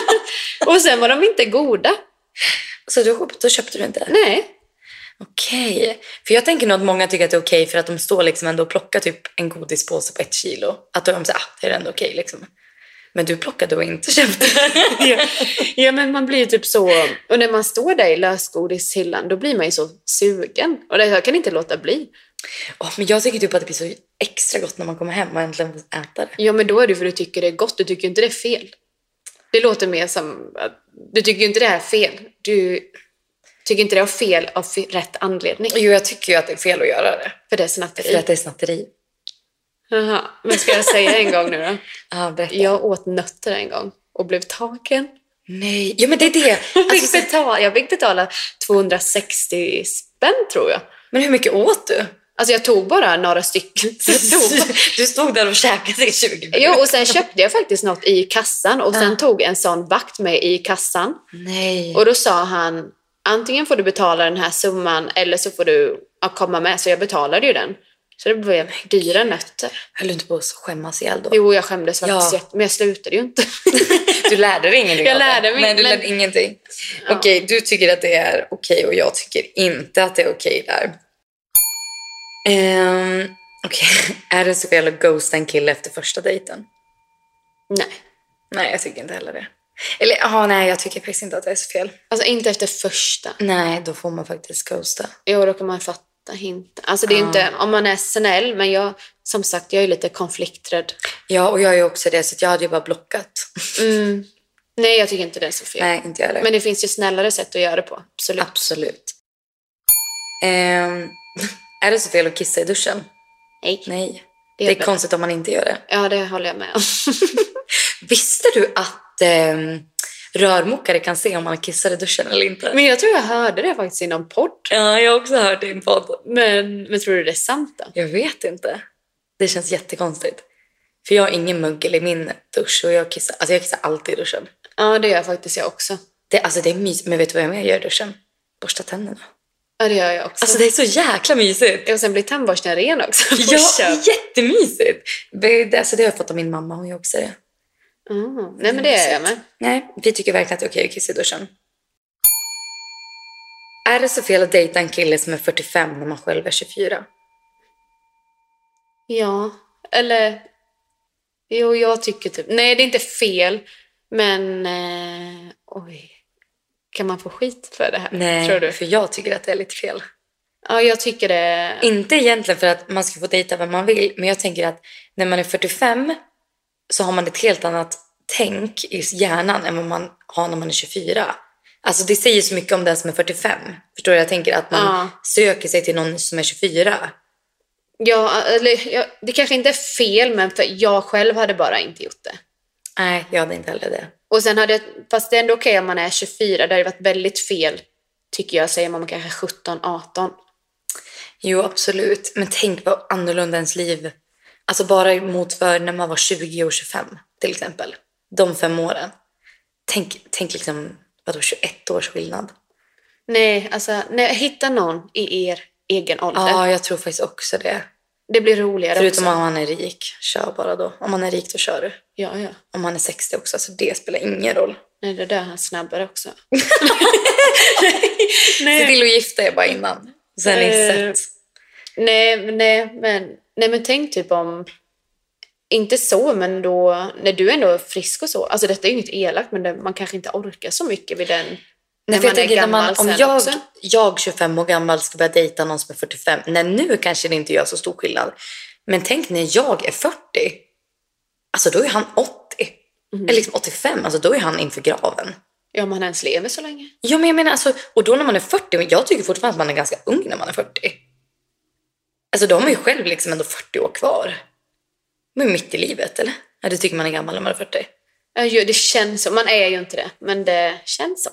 och sen var de inte goda.
Så då, då köpte du inte?
Nej.
Okej. För jag tänker nog att många tycker att det är okej för att de står liksom ändå och plockar typ en godispåse på ett kilo. Att då är de såhär, ah, det är ändå okej liksom. Men du plockade och inte köpte.
ja. ja, men man blir ju typ så... Och när man står där i lösgodishyllan, då blir man ju så sugen. Och det, jag kan inte låta bli.
Åh, men jag tycker typ att det blir så extra gott när man kommer hem och äntligen får äta det.
Ja, men då är det för att du tycker det är gott. Du tycker ju inte det är fel. Det låter mer som... att Du tycker ju inte det här är fel. Du tycker inte det är fel av fe- rätt anledning.
Jo, jag tycker ju att det är fel att göra det.
För det är
För
snatteri.
att det är snatteri.
Jaha, Men ska jag säga en gång nu då?
Ja, berätta.
Jag åt nötter en gång och blev tagen.
Nej, ja men det är det.
Jag
Alltså,
fick
så,
betala, jag fick betala 260 spänn tror jag.
men hur mycket åt du?
Alltså jag tog bara några stycken. Så jag tog bara-
Du stod där och käkade i 20 minuter.
Jo, och sen köpte jag faktiskt något i kassan och sen
Ja.
tog en sån vakt med i kassan.
Nej.
Och då sa han, antingen får du betala den här summan eller så får du ja, komma med. Så jag betalade ju den. Så det blev dyra nötter.
Höll du inte på att skämmas ihjäl då?
Jo, jag skämdes faktiskt
Ja.
jätte- men jag slutade ju inte.
Du lärde dig ingenting
Jag
av det.
lärde mig,
Nej, du
men-
lärde ingenting.
Ja.
Okej, du tycker att det är okej och jag tycker inte att det är okej där. Ehm, okej, är det så fel att ghosta en kille efter första dejten?
Nej,
Nej, jag tycker inte heller det. Eller ja, nej, jag tycker faktiskt inte att det är så fel.
alltså inte efter första.
Nej, då får man faktiskt ghosta.
Jo, då kan man fatta hinten. Alltså det är ju
Ja.
inte, om man är snäll, men jag, som sagt, jag är lite konflikträdd.
Ja, och jag är ju också det, så att jag hade ju bara blockat.
Mm. Nej, jag tycker inte det är så fel.
Nej, inte jag heller.
Men det finns ju snällare sätt att göra det på, absolut.
Absolut. Ehm, är det så fel att kissa i duschen?
Nej,
Nej.
det
Det
är
är
bra.
konstigt om man inte gör det.
Ja, det håller jag med om.
Visste du att eh, rörmokare kan se om man kissar i duschen eller inte?
Men jag tror jag hörde det faktiskt i någon podd.
Ja, jag har också hört det i en podd.
Men, men tror du det är sant då?
Jag vet inte. Det känns jättekonstigt. För jag har ingen mögel i min dusch och jag kissar, alltså jag kissar alltid i duschen.
Ja, det gör faktiskt jag också.
Det, alltså det är mysigt, men vet du vad jag mer gör i duschen? Borsta tänderna.
Ja, det gör jag också.
Alltså det är så jäkla mysigt.
Och sen blir tandborsten ren också. på
Ja,
köp.
jättemysigt! Det, det- alltså det har jag fått av min mamma, hon gör också det.
Mm. Nej, men det är jag med.
Nej, vi tycker verkligen att det är okej att kissa i duschen. Är det så fel att dejta en kille som är 45 när man själv är 24?
Ja, eller... Jo, jag tycker typ... Nej, det är inte fel, men... Eh, oj. Kan man få skit för det här,
Nej,
tror du?
för jag tycker att det är lite fel.
Ja, jag tycker det...
Inte egentligen för att man ska få dejta vem man vill, men jag tänker att när man är 45 så har man ett helt annat tänk i hjärnan än vad man har när man är 24. Alltså det säger så mycket om den som är 45. Förstår du? Jag tänker att man
Ja.
söker sig till någon som är 24.
Ja, eller, ja, det kanske inte är fel, men för jag själv hade bara inte gjort det.
Nej, jag hade inte heller det.
Och sen hade jag, fast det är ändå okej om man är 24, det hade varit väldigt fel, tycker jag, säger man kanske 17, 18.
Jo, absolut. Men tänk vad annorlunda ens liv... Alltså bara mot för när man var 20 och 25 till exempel. De fem åren. Tänk, tänk liksom, vadå 21 års skillnad?
Nej, alltså, nej, hitta någon i er egen ålder.
Ja, jag tror faktiskt också det.
Det blir roligare
Förutom
också.
om man är rik, kör bara då. Om man är rik då kör du.
Ja, ja.
Om man är 60 också, så det spelar ingen roll.
Nej, det där han snabbare också.
Se till att gifta er bara innan. Sen är det
Eh.
sett.
Nej, men- nej, men, nej, men tänk typ om... Inte så, men då... När du ändå är frisk och så. Alltså detta är ju inget elakt, men det, man kanske inte orkar så mycket vid den...
Nej, för jag tänker när man, om
sen
jag,
också.
jag 25 år gammal ska börja dejta någon som är 45, nej nu kanske det inte gör så stor skillnad. Men tänk när jag är 40, alltså då är han 80. Eller liksom 85, alltså då är han inför graven.
Ja, om man ens lever så länge.
Ja, men jag menar alltså, och då när man är 40, men jag tycker fortfarande att man är ganska ung när man är 40. Alltså då har man ju själv liksom ändå 40 år kvar. Men mitt i livet, eller? Ja, du tycker man är gammal när man är 40.
Ja, ju- det känns så. Man är ju inte det, men det känns så.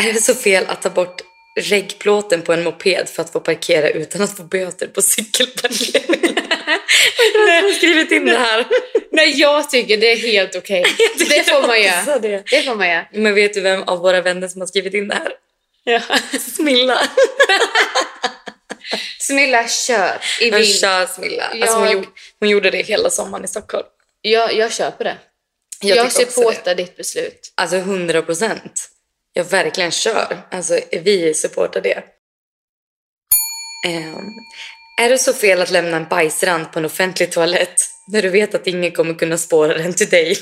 Är det så fel att ta bort reggplåten på en moped för att få parkera utan att få böter på cykelparkering? Jag har skrivit in det här.
Nej, jag tycker det är helt okej. Det får man göra.
Det.
Det får man göra.
Men vet du vem av våra vänner som har skrivit in det här?
Ja.
Smilla.
Smilla, kör i
Men
din...
kör Smilla. Alltså
Jag-
hon, gjorde, hon gjorde det hela sommaren i Stockholm.
Jag, jag köper det.
Jag
Jag,
tycker också
supportar ditt beslut.
Alltså 100 procent. Jag verkligen kör. Alltså vi supportar det. Ehm, är det så fel att lämna en bajsrand på en offentlig toalett när du vet att ingen kommer kunna spåra den till dig?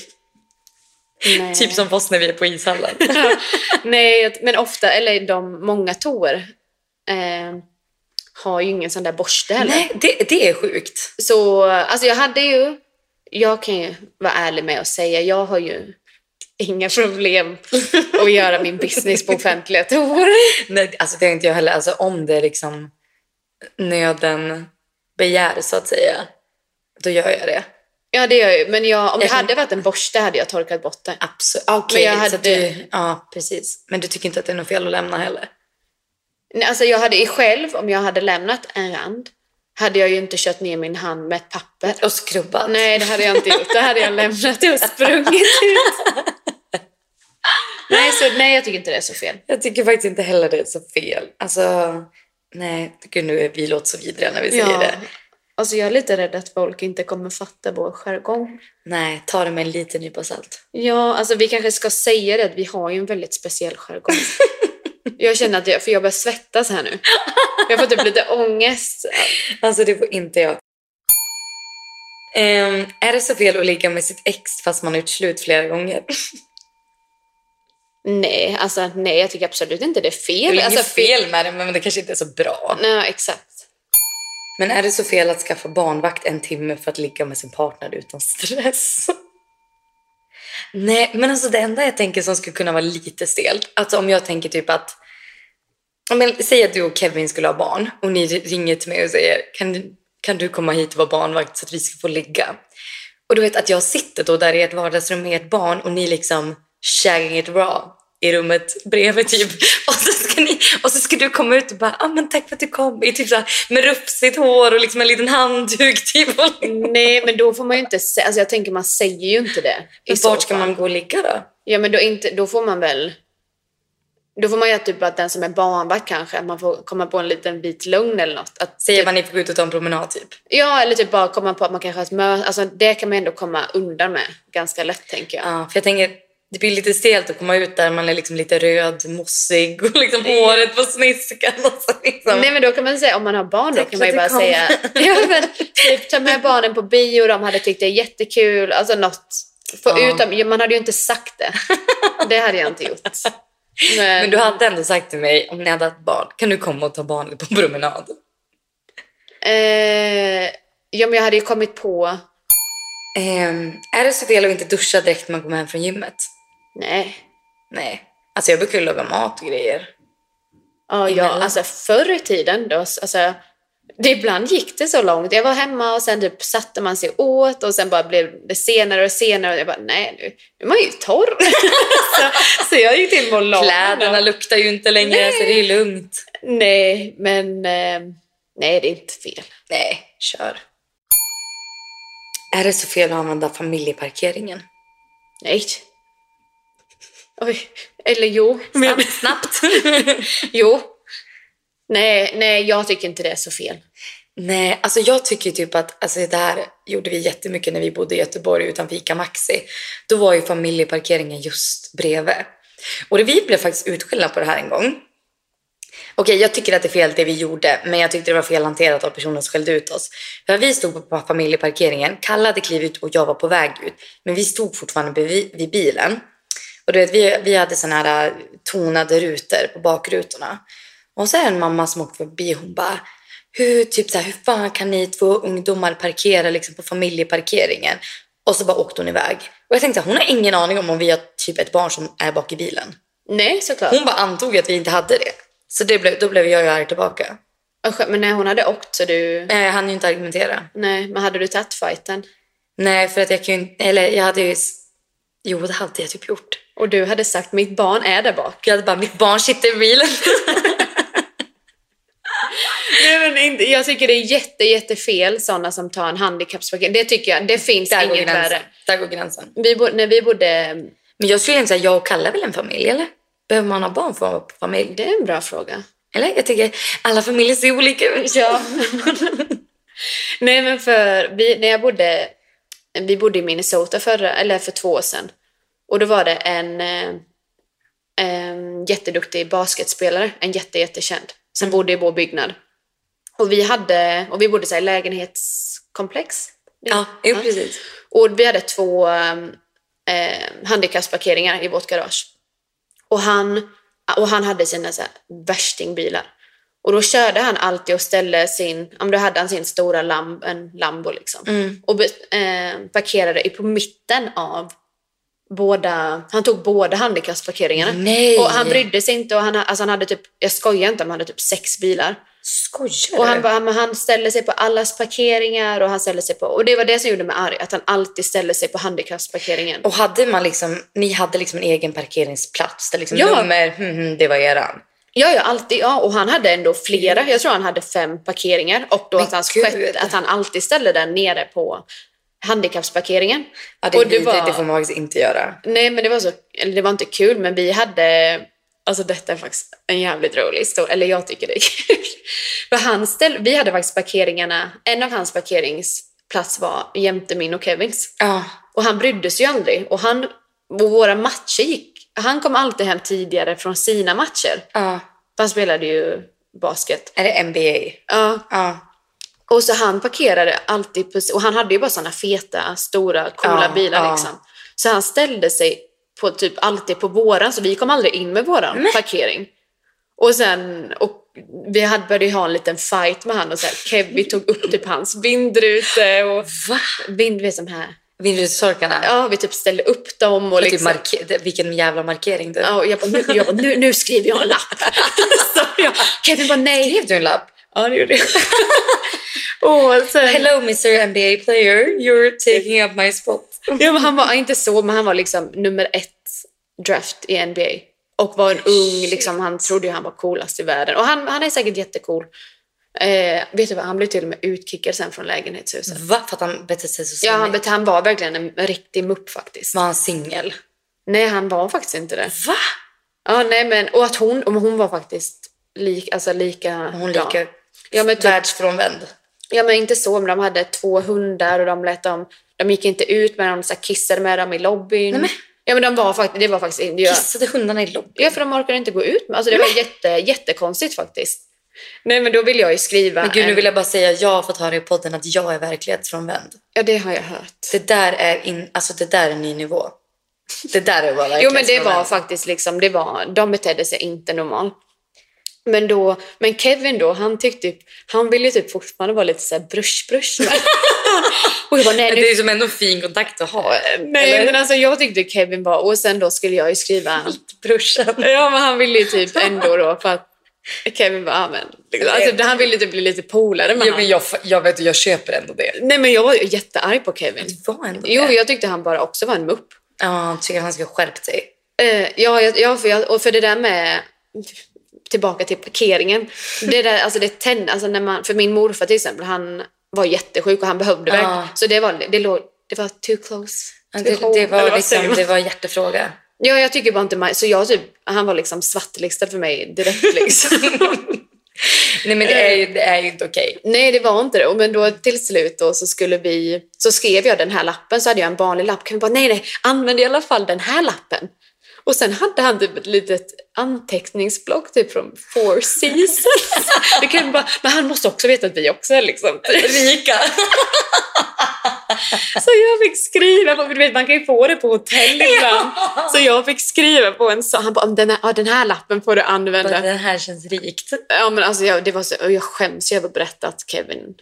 Nej.
Typ som oss när vi är på ishallen.
Nej, jag- men ofta, eller de många toor eh, har ju ingen sån där borste heller.
Nej, det, det är sjukt.
Så alltså jag hade ju, jag kan ju vara ärlig med och säga, jag har ju inga problem att göra min business på offentliga toor.
Nej, alltså det är inte jag heller. Alltså om det är liksom nöden begär så att säga, då gör jag det.
Ja, det gör jag ju. Men jag, om det
Jag kan-
hade varit en borste hade jag torkat bort det.
Absolut. Okej,
Men jag
så att
hade-
du, ja precis. Men du tycker inte att det är något fel att lämna heller?
Nej, Alltså jag hade ju själv, om jag hade lämnat en rand, hade jag ju inte kört ner min hand med ett papper.
Och skrubbat.
Nej, det hade jag inte gjort. Det hade jag lämnat och sprungit ut. Nej, så, nej, jag tycker inte det är så fel.
Jag tycker faktiskt inte heller det är så fel. Alltså, nej, gud nu vi låter så vidriga när vi säger det.
Alltså jag är lite rädd att folk inte kommer fatta vår jargong.
Nej, ta det med en liten nypa salt.
Ja, alltså vi kanske ska säga det att vi har ju en väldigt speciell jargong. jag känner att jag, för jag börjar svettas här nu. Jag får typ lite ångest.
Alltså det får inte jag. Ehm, är det så fel att ligga med sitt ex fast man har gjort slut flera gånger?
Nej, alltså nej, jag tycker absolut inte det är
Det är
fel.
väl
alltså,
inget fel med det, men det kanske inte är så bra.
Nej, exakt.
Men är det så fel att skaffa barnvakt en timme för att ligga med sin partner utan stress? Nej, men alltså det enda jag tänker som skulle kunna vara lite stelt, alltså om jag tänker typ att ja, men, Säg att du och Kevin skulle ha barn och ni ringer till mig och säger kan, kan du komma hit och vara barnvakt så att vi ska få ligga? Och du vet att jag sitter då där i ett vardagsrum med ett barn och ni liksom shagging it raw i rummet bredvid typ. Och så ska, ni, och så ska du komma ut och bara ah, men tack för att du kom i typ så här, med rufsigt hår och liksom en liten handduk. Typ. Och
Nej, men då får man ju inte säga, alltså jag tänker man säger ju inte det. i så
vart ska
fall.
man gå och ligga då?
Ja, men då, inte, då får man väl... Då får man göra typ att den som är barnvakt kanske, att man får komma på en liten bit lugn eller något. Att, typ-
Säger man ni får gå ut och ta en promenad typ.
ja, eller typ bara komma på att man kanske har ett möte. Alltså det kan man ändå komma undan med ganska lätt tänker jag.
Ja, för jag tänker det blir lite stelt att komma ut där man är liksom lite röd, mossig och liksom håret på sniskan. Och så liksom.
Nej men då kan man säga, om man har barn då
Tack
kan
för
man ju bara
att du
säga, ja, men, typ ta med barnen på bio, de hade tyckt det är jättekul, alltså något. Få
Ja.
ut dem, Ja, man hade ju inte sagt det. Det hade jag inte gjort. Men,
Men du hade ändå sagt till mig om ni hade haft barn, kan du komma och ta barnet på en promenad?
eh, ja, men jag hade ju kommit på
Ehm, är det så fel att inte duscha direkt när man kommer hem från gymmet?
Nej.
Nej. Alltså jag brukar ju laga mat och grejer.
Ja, ja,
Emellan.
alltså förr i tiden då, alltså, det ibland gick det så långt. Jag var hemma och sen typ satte man sig åt och sen bara blev det senare och senare och jag bara nej nu, nu är man ju torr. så, så jag gick till Molana.
Kläderna luktar ju inte längre
Nej.
så det är lugnt.
Nej, men eh, nej det är inte fel.
Nej, kör. Är det så fel att använda familjeparkeringen?
Nej. Oj, eller jo.
Snabbt.
snabbt.
snabbt.
jo. Nej, nej, jag tycker inte det är så fel.
Nej, alltså jag tycker typ att alltså det här gjorde vi jättemycket när vi bodde i Göteborg utanför ICA Maxi. Då var ju familjeparkeringen just bredvid. Och det, vi blev faktiskt utskällda på det här en gång. Okej, jag tycker att det är fel det vi gjorde, men jag tyckte det var fel hanterat av personen som skällde ut oss. För vi stod på familjeparkeringen, Kalle hade klivit ut och jag var på väg ut, men vi stod fortfarande vid, vid bilen. Och du vet, vi, vi hade såna här äh, tonade rutor på bakrutorna. Och så är det en mamma som åkte förbi, hon bara, hur, typ så här, hur fan kan ni två ungdomar parkera liksom, på familjeparkeringen? Och så bara åkte hon iväg. Och jag tänkte, hon har ingen aning om om vi har typ ett barn som är bak i bilen.
Nej, såklart.
Hon bara antog att vi inte hade det. Så det blev, då blev jag ju arg tillbaka.
Usch, Men när hon hade åkt så du...
Nej, Jag hann ju inte argumentera.
Nej, men hade du tagit fighten
Nej, för att jag kan ju inte... Eller jag hade ju... s- Jo, det hade jag typ gjort.
och du hade sagt mitt barn är där bak.
Jag hade bara, mitt barn sitter i bilen.
Nej, men inte, jag tycker det är jätte, jättefel sådana som tar en handikappsparkering. Det tycker jag, det finns
Mm, Där går,
inget
gränsen.
värre.
Där går gränsen.
Vi bo, när vi bodde,
Men jag skulle inte säga, jag och Kalle är väl en familj, eller? Behöver man ha barn för att vara familj?
Det är en bra fråga.
Eller? Jag tycker alla familjer ser olika ut.
Ja. Nej, men för vi, när jag bodde, vi bodde i Minnesota förra, eller för två år sedan. Och då var det en, eh, en jätteduktig basketspelare, en jätte, jättekänd,
Mm.
som bodde i vår byggnad. Och vi, hade, och vi bodde så här i lägenhetskomplex.
Ja, jo, precis.
Och vi hade två eh, handikappsparkeringar i vårt garage. Och han, och han hade sina så här värstingbilar. Och då körde han alltid och ställde sin, om då hade han sin stora lam, en Lambo liksom.
Mm.
Och be- eh, parkerade i- på mitten av båda, han tog båda handikappsparkeringarna.
Mm. Nej!
Och han brydde sig inte och han, alltså han hade typ, jag skojar inte, om han hade typ sex bilar.
Skojar
Och
du?
han, bara, men han ställde sig på allas parkeringar och han ställde sig på... Och det var det som gjorde mig arg, att han alltid ställde sig på handikappsparkeringen.
Och hade man liksom, ni hade liksom en egen parkeringsplats där liksom
Ja.
nummer, hmm, hmm, det var eran.
Ja, ja, alltid. Ja, och han hade ändå flera. Jag tror han hade fem parkeringar och då
Men
att, hans
gud.
sjätte, att han alltid ställde den nere på handikappsparkeringen.
Ja, det är
Och det
vidrigt,
var-
det får man faktiskt inte göra.
Nej, men det var så... Eller det var inte kul, men vi hade... Alltså detta är faktiskt en jävligt rolig historia. Eller jag tycker det är kul. För han ställ, vi hade faktiskt parkeringarna... En av hans parkeringsplats var jämte min och Kevins.
Ja,
Och han brydde sig ju aldrig. Och, han, och våra matcher gick... Han kom alltid hem tidigare från sina matcher.
ja.
För han spelade ju basket.
Är det NBA?
Ja.
Ja.
Och så han parkerade alltid... på- Och han hade ju bara såna feta, stora, coola
Ja,
bilar
ja.
liksom. Så han ställde sig på typ alltid på våran, så vi kom aldrig in med våran parkering. Och sen... Och vi hade började ju ha en liten fight med han och så här, Kevin tog upp typ hans vindrute och
Va?
vind, vet, som här.
Vindrutetorkarna? Ja,
Ja, vi typ ställde upp dem och
typ
liksom...
marke- vilken jävla markering du.
Ja, och jag bara, nu, jag bara, nu, nu skriver jag en lapp. Så jag, Kevin bara, nej.
Skrev du en lapp?
Ja, det gjorde jag. Och sen,
Hello Mr NBA player, you're taking up my spot.
ja, men han var inte så, men han var liksom nummer ett draft i NBA. Och var en ung,
Shit.
liksom, han trodde ju han var coolast i världen. Och han, han är säkert jättecool. Eh, vet du vad, han blev till och med utkickad sen från lägenhetshuset.
Va? För att han betedde sig så
Ja, han,
sinnigt?
bet- han var verkligen en riktig mupp faktiskt.
Var han singel?
Nej, han var faktiskt inte det.
Va?
Ja, nej, men, och att hon, och hon var faktiskt lik, alltså lika...
Hon
bra.
lika
Ja, men typ-
världsfrånvänd.
Ja men inte så, men de hade två hundar och de lät dem, de gick inte ut med dem, de så här kissade med dem i lobbyn.
Nej, men-
Ja men de var faktiskt, det var faktiskt inte...
Kissade hundarna i lobbyn?
Ja för de orkade inte gå ut med, alltså det var jätte, jättekonstigt faktiskt. Nej men då vill jag ju skriva
Men gud, nu
en-
vill jag bara säga, jag har fått höra i podden att jag är verklighetsfrånvänd.
Ja det har jag hört.
Det där är, in, alltså det där är en ny nivå. Det där är bara
Jo men det var
verklighetsfrånvänd.
faktiskt liksom, det var, de betedde sig inte normalt. Men, då, men Kevin då, han tyckte ju- han ville ju typ fortfarande vara lite såhär brush-brush. med- och jag bara, nej
Men
nu
det är ju som ändå en fin kontakt att ha.
Nej,
Eller?
men alltså jag tyckte Kevin var... Och sen då skulle jag ju skriva...
Brorsan.
Ja, men han ville ju typ ändå då för att Kevin bara, ja, men... liksom, Alltså, han ville typ bli lite polare med
Ja,
han.
men jag, jag vet, jag köper ändå det.
Nej, men jag var ju jättearg på Kevin.
Det var ändå
Jo,
det.
jag tyckte han bara också var en mupp.
Ja, jag tycker att han ska skärpa sig.
Eh, ja, jag- ja för jag, och för det där med... Tillbaka till parkeringen. Det där, alltså det tänd, alltså när man, för min morfar till exempel, han var jättesjuk och han behövde verkligen...
Ja.
Så det var, det, låg, det var too close.
Ja,
to
Det,
home,
det,
eller vad
var
säger
liksom,
man?
det var en hjärtefråga.
Ja, jag tycker bara inte man, så jag typ, han var liksom svartlistad för mig direkt liksom.
Nej, men det är ju, det är ju inte okej.
Nej, det var inte det. Och Men då till slut då så skulle vi, så skrev jag den här lappen, så hade jag en vanlig lapp. Kan vi bara, nej, nej, använd i alla fall den här lappen. Och sen hade han typ ett litet anteckningsblock typ från Four Seasons. Vi kan bara, men han måste också veta att vi också är liksom
Rika.
Så jag fick skriva på, du vet man kan ju få det på hotell ibland. Så jag fick skriva på en sån, han bara, den här, ja, den här lappen får du använda.
Bara, Den här känns rikt.
Ja, men alltså jag, det var så, och jag skäms ju över att berätta att Kevin...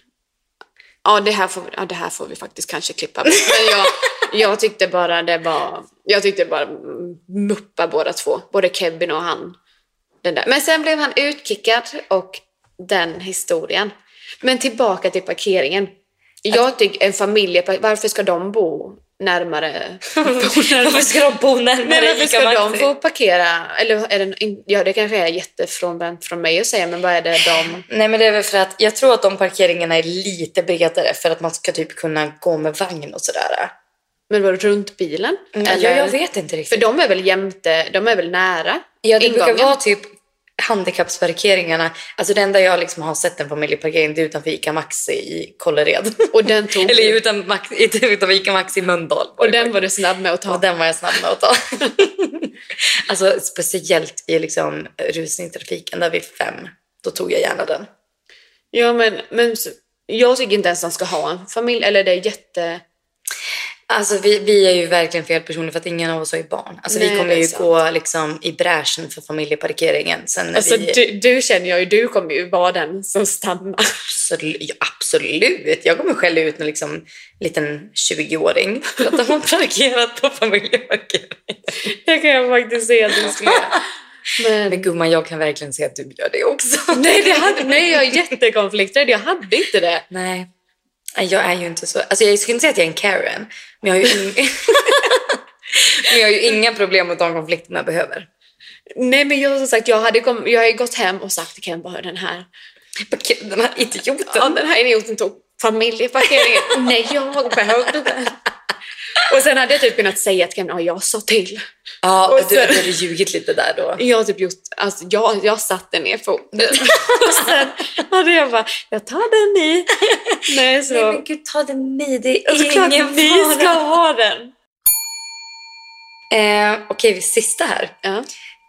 Ja det, här får, ja, det här får vi faktiskt kanske klippa bort. Men jag, jag tyckte bara det var... Jag tyckte bara mm, muppa båda två. Både Kevin och han. Den där. Men sen blev han utkickad och den historien. Men tillbaka till parkeringen. Jag tycker en familjeparkering, varför ska de bo närmare?
Varför ska de bo närmare
Nej, varför
Ica
ska de
Maxi?
få parkera? Eller är det, en- ja, det kanske är jättefrånvänt från mig att säga, men vad är det de...
Nej, men det är väl för att jag tror att de parkeringarna är lite bredare för att man ska typ kunna gå med vagn och sådär.
Men var det runt bilen?
Mm, jag, jag vet inte
För
riktigt.
de är väl jämte, de är väl nära
Ja, det
ingången?
brukar vara typ handikappsparkeringarna. Alltså det enda jag liksom har sett en familjeparkering det är utanför ICA Maxi i Kållered.
Och den tog
Eller utan Max, inte utanför ICA Maxi i Mölndal.
Och den var du snabb med att
Ja,
ta.
den var jag snabb med att ta. alltså speciellt i liksom rusningstrafiken där vid fem. Då tog jag gärna den.
Ja, men, men s- jag tycker inte ens man ska ha en familj. Eller det är jätte...
Alltså vi, vi är ju verkligen fel personer för att ingen av oss har ju barn. Alltså
Nej,
vi kommer
det är
ju
sant.
gå liksom i bräschen för familjeparkeringen. Sen när
Alltså,
vi...
du, du känner jag ju, du kommer ju vara den som stannar.
Absolut, ja, absolut. Jag kommer skälla ut en liksom, liten 20-åring för att de har parkerat på familjeparkeringen.
Det kan jag faktiskt se att du skulle göra. Men,
Men gumman, jag kan verkligen se att du gör det också.
nej, det hade, nej, jag är jättekonflikträdd. Jag hade inte det.
Nej, Nej, jag är ju inte så. Alltså jag skulle inte säga att jag är en Karen, men jag har ju, ing- men jag har ju inga problem med de konflikterna jag behöver.
Nej, men jag, som sagt, jag hade, kom, jag hade gått hem och sagt till Ken bara den här,
Den här idioten.
ja, den här idioten tog familjeparkeringen. nej, jag behövde den. Och sen hade jag typ kunnat säga till Ken, ja, jag sa till.
Ja,
Och
du
sen-
hade ljugit lite där då.
Jag har typ gjort, alltså jag, jag satte ner foten och sen hade jag bara, jag tar den i. Nej så,
Nej men gud, ta det med Det är
och såklart
ingen
vi ska
fara.
ha den.
Eh, Okej, vi sista här.
Ja.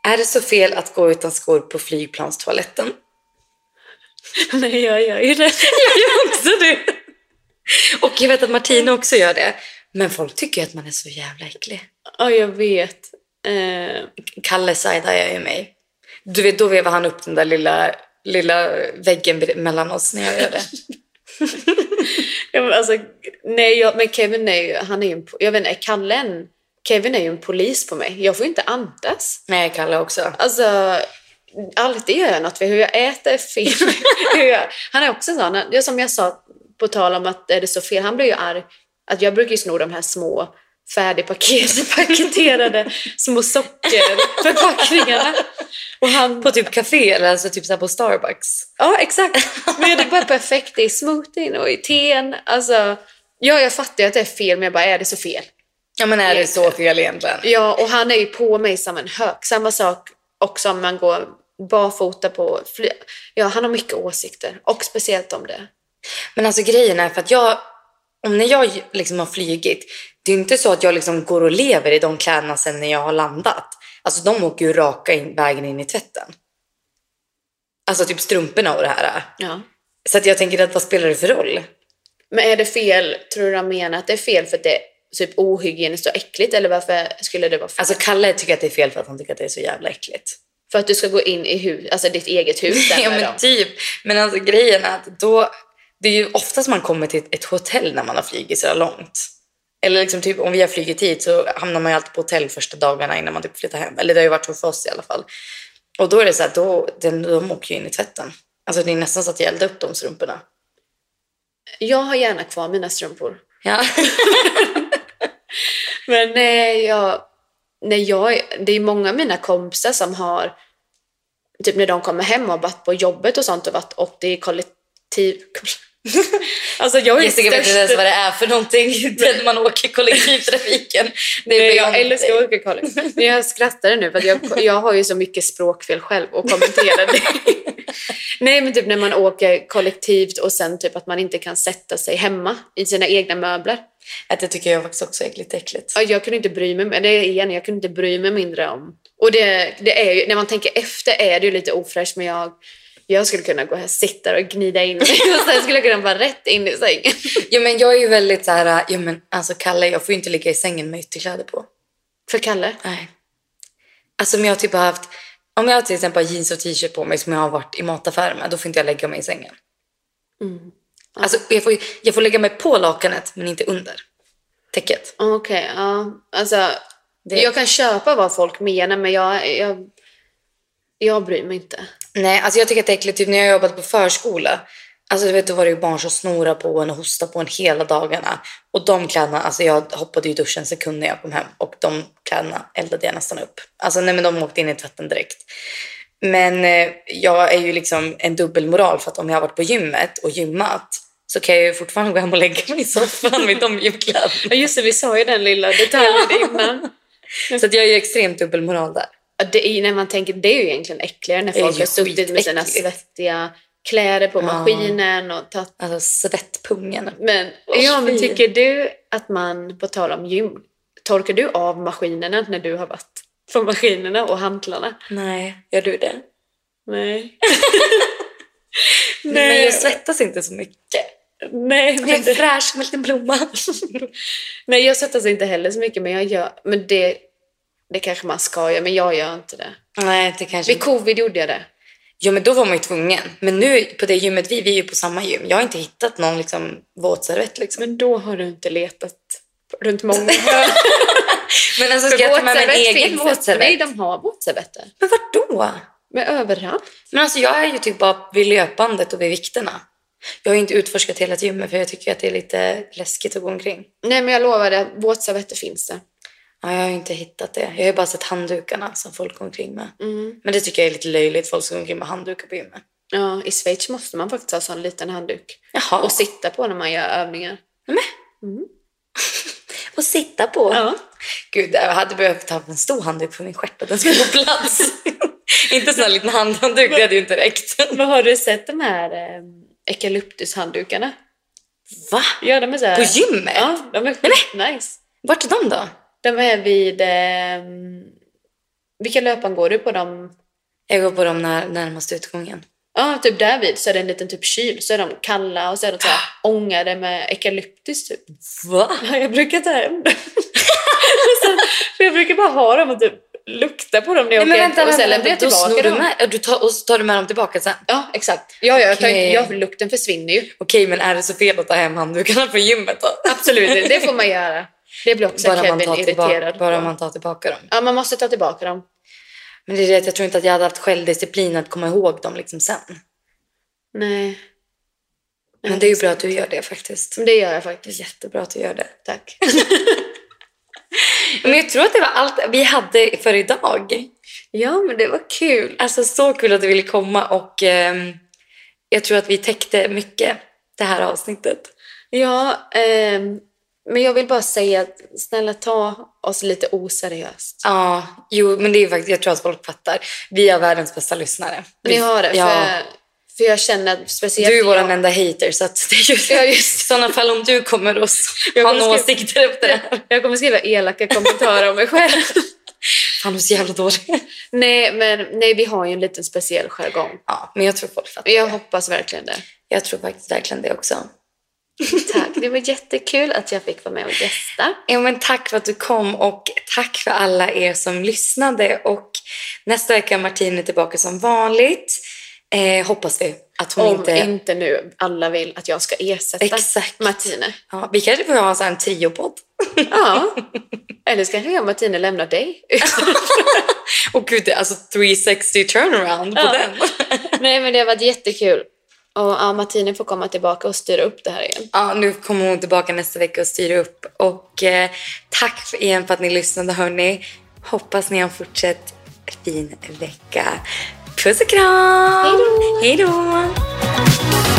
Är det så fel att gå utan skor på flygplanstoaletten?
Nej jag gör ju det.
Jag gör också det. Och jag vet att Martina också gör det. Men folk tycker ju att man är så jävla äcklig.
Ja jag vet. Eh,
Kalle sidear ju mig. Du vet, då vevar han upp den där lilla, lilla väggen bre- mellan oss när jag gör det.
ja, men alltså, nej jag, men Kevin är ju, han är ju en, po- jag vet inte, är Kalle en, Kevin är ju en polis på mig. Jag får ju inte andas.
Nej, Kalle också.
Alltså, alltid gör jag något för hur jag äter är fel. hur jag, han är också sån, det är som jag sa på tal om att är det så fel, han blir ju arg. Att jag brukar ju sno de här små färdigpaketerade små sockerförpackningarna. Och han,
På typ café eller alltså typ så här på Starbucks.
ja exakt, men det är bara perfekt i smoothien och i teen. Alltså, ja jag fattar ju att det är fel men jag bara, är det så fel?
Ja, men är det så fel egentligen?
Ja, och han är ju på mig som en hök. Samma sak också om man går barfota på fly- Ja, han har mycket åsikter och speciellt om det.
Men alltså grejen är för att jag, om när jag liksom har flygit, det är ju inte så att jag liksom går och lever i de kläderna sen när jag har landat. Alltså de åker ju raka in, vägen in i tvätten. Alltså typ strumporna och det här.
Ja.
Så att jag tänker att vad spelar det för roll?
Men är det fel, tror du han menar att det är fel för att det är typ ohygieniskt och äckligt eller varför skulle det vara fel?
Alltså Kalle tycker att det är fel för att han tycker att det är så jävla äckligt.
för att du ska gå in i hus, alltså ditt eget hus där
Ja
med
men
dem.
typ. Men alltså grejen är att då, det är ju oftast man kommer till ett hotell när man har flugit så här långt. Eller liksom typ om vi har flugit hit så hamnar man ju alltid på hotell första dagarna innan man typ flyttar hem. Eller det har ju varit så för oss i alla fall. Och då är det så här, då, den, de åker ju in i tvätten. Alltså det är nästan så att jag eldar upp de strumporna.
Jag har gärna kvar mina strumpor.
Ja.
Men nej, jag, nej, jag, det är många av mina kompisar som har, typ när de kommer hem och har varit på jobbet och sånt och varit och det är kollektiv... alltså jag är ju
Jessica vet inte ens
störst...
vad det är för någonting. Det är när man åker i kollektivtrafiken. Det är
Nej, jag
Beyoncé.
älskar att åka kollektiv. Men jag skrattade nu för att jag, jag har ju så mycket språkfel själv och kommenterar det. Nej men typ när man åker kollektivt och sen typ att man inte kan sätta sig hemma i sina egna möbler.
Att det tycker jag faktiskt också är lite äckligt.
Ja, jag kunde inte bry mig, men det är igen, jag kunde inte bry mig mindre om. Och det, det är ju, när man tänker efter är det ju lite ofräscht, men jag, jag skulle kunna gå här, sitta och gnida in mig och sen skulle jag kunna vara rätt in i sängen.
Ja, men jag är ju väldigt så här, ja, men alltså Kalle, jag får ju inte ligga i sängen med ytterkläder på.
För Kalle?
Nej. Alltså om jag typ har haft, om jag till exempel har jeans och t-shirt på mig som jag har varit i mataffären med, då får inte jag lägga mig i sängen. Alltså jag får, jag får lägga mig på lakanet men inte under täcket.
Okej, ja. Alltså,
Det-
jag kan köpa vad folk menar, men jag, jag, jag bryr mig inte.
Nej, alltså jag tycker att det är äckligt, typ när jag jobbat på förskola, alltså du vet då var det ju barn som snorade på en och hostade på en hela dagarna. Och de kläderna, alltså jag hoppade ju i duschen en sekund när jag kom hem och de kläderna eldade jag nästan upp. Alltså nej men de åkte in i tvätten direkt. Men eh, jag är ju liksom en dubbelmoral för att om jag har varit på gymmet och gymmat så kan jag ju fortfarande gå hem och lägga mig i soffan med de julkläderna.
Ja, just det, vi sa ju den lilla detaljen innan.
Så att jag är ju extremt dubbelmoral där.
Ja, Det är, ju- när man tänker, det är ju egentligen äckligare när
Det är
folk
ju
har suttit med sina
skitäckligt.
svettiga kläder på
Ja.
maskinen och tagit...
Alltså svettpungen.
Men,
Åh,
ja, men
fy.
tycker du att man, på tal om gym, torkar du av maskinerna när du har varit från maskinerna och hantlarna?
Nej, gör du det?
Nej.
Nej. Men jag svettas inte så mycket.
Nej, men
Jag är
det,
fräsch som en liten blomma.
nej, jag svettas inte heller så mycket, men jag gör... Men det, det kanske man ska göra, men jag gör inte det.
Nej, det kanske
Vid covid gjorde jag det.
Ja, men då var man ju tvungen. Men nu på det gymmet, vi, vi är ju på samma gym. Jag har inte hittat någon liksom, våtservett. Liksom.
Men då har du inte letat runt många hörn.
Men alltså,
För
ska jag ta med mig en egen
våtservett finns det. Nej,
våtservett?
de har våtservetter.
Men vart då?
Men överallt.
Men alltså, jag är ju typ bara vid löpandet och vid vikterna. Jag har ju inte utforskat hela gymmet för jag tycker att det är lite läskigt att gå omkring.
Nej, men jag lovar dig, våtservetter finns det.
Ja, jag har ju inte hittat det. Jag har ju bara sett handdukarna som folk går omkring med.
Mm.
Men det tycker jag är lite löjligt, folk som går omkring med handdukar på gymmet.
Ja, I Schweiz måste man faktiskt ha sån liten handduk
Jaha, och,
och sitta på när man gör övningar.
sitta på.
Ja.
Gud, jag hade behövt ha en stor handduk på min stjärt och den skulle få plats. inte sån här liten handhandduk, det hade ju inte räckt.
Men har du sett de här eh, eukalyptushanddukarna?
Va?
Ja, de är så här...
På gymmet?
Ja, de är skitnice.
Vart är de då?
De är vid... Eh, vilka löpan går du på dem?
Jag går på de när, närmaste utgången.
Ja, typ därvid så är det en liten typ kyl. Så är de kalla och så är de så här ångade med eukalyptus typ.
Va?
Ja, jag brukar ta hem dem. Sen- för jag brukar bara ha dem och typ lukta på dem när jag
Nej, men
åker
vänta,
och
vänta,
sen
vänta,
lämnar jag
då snor
tillbaka
du
dem.
med, ja, du tar, och så tar du med dem tillbaka sen.
Ja, exakt. Ja, ja, jag tar,
Okej.
ja, för lukten försvinner ju.
Okej, men är det så fel att ta hem handdukarna från gymmet då?
Absolut, det får man göra. Det blir också
Bara man,
Kevin
tar tillbaka,
irriterad
bara
på.
man tar tillbaka dem.
Ja, man måste ta tillbaka dem.
Men det är det att jag tror inte att jag hade haft självdisciplin att komma ihåg dem liksom sen.
Nej.
Men det är ju bra att du gör det faktiskt.
Men det gör jag
Det är
faktiskt.
jättebra att du gör det.
Tack.
Men jag tror att det var allt vi hade för idag.
Ja, men det var kul.
Alltså så kul att du ville komma och ehm, jag tror att vi täckte mycket det här avsnittet.
Ja, ehm, men jag vill bara säga att snälla ta oss lite oseriöst.
Ja, jo, men det är faktiskt, jag tror att folk fattar. Vi är världens bästa lyssnare.
Ni har det, för,
Ja,
för jag känner att speciellt...
du är vår
jag-
enda hater, så att det är ju...
Ja,
I
just
sådana fall om du kommer att
Jag
ha
kommer
några
skriva-
åsikter efter det här.
det. Jag kommer skriva elaka kommentarer om mig själv.
Fan, du är så jävla dålig.
nej, men nej, vi har ju en liten speciell jargong.
Ja, men jag tror folk fattar
Jag
det.
hoppas verkligen det.
Jag tror faktiskt verkligen det också.
Tack, det var jättekul att jag fick vara med och gästa.
Ja, men tack för att du kom och tack för alla er som lyssnade. Och nästa vecka är Martin är tillbaka som vanligt. Eh, hoppas vi att hon
Om
inte...
inte... nu alla vill att jag ska ersätta
Exakt.
Martine.
Ja, vi kanske får ha så här en triopodd.
Ja. Eller så kanske jag och Martine lämnar dig.
Och gud, det är alltså 360 turnaround på
Ja.
den.
nej, men det har varit jättekul. Och ja, Martine får komma tillbaka och styra upp det här igen.
Ja, nu kommer hon tillbaka nästa vecka och styr upp. Och eh, tack för- igen för att ni lyssnade hörni. Hoppas ni har en fortsatt fin vecka. Puss och kram!
Hejdå!
Hej då!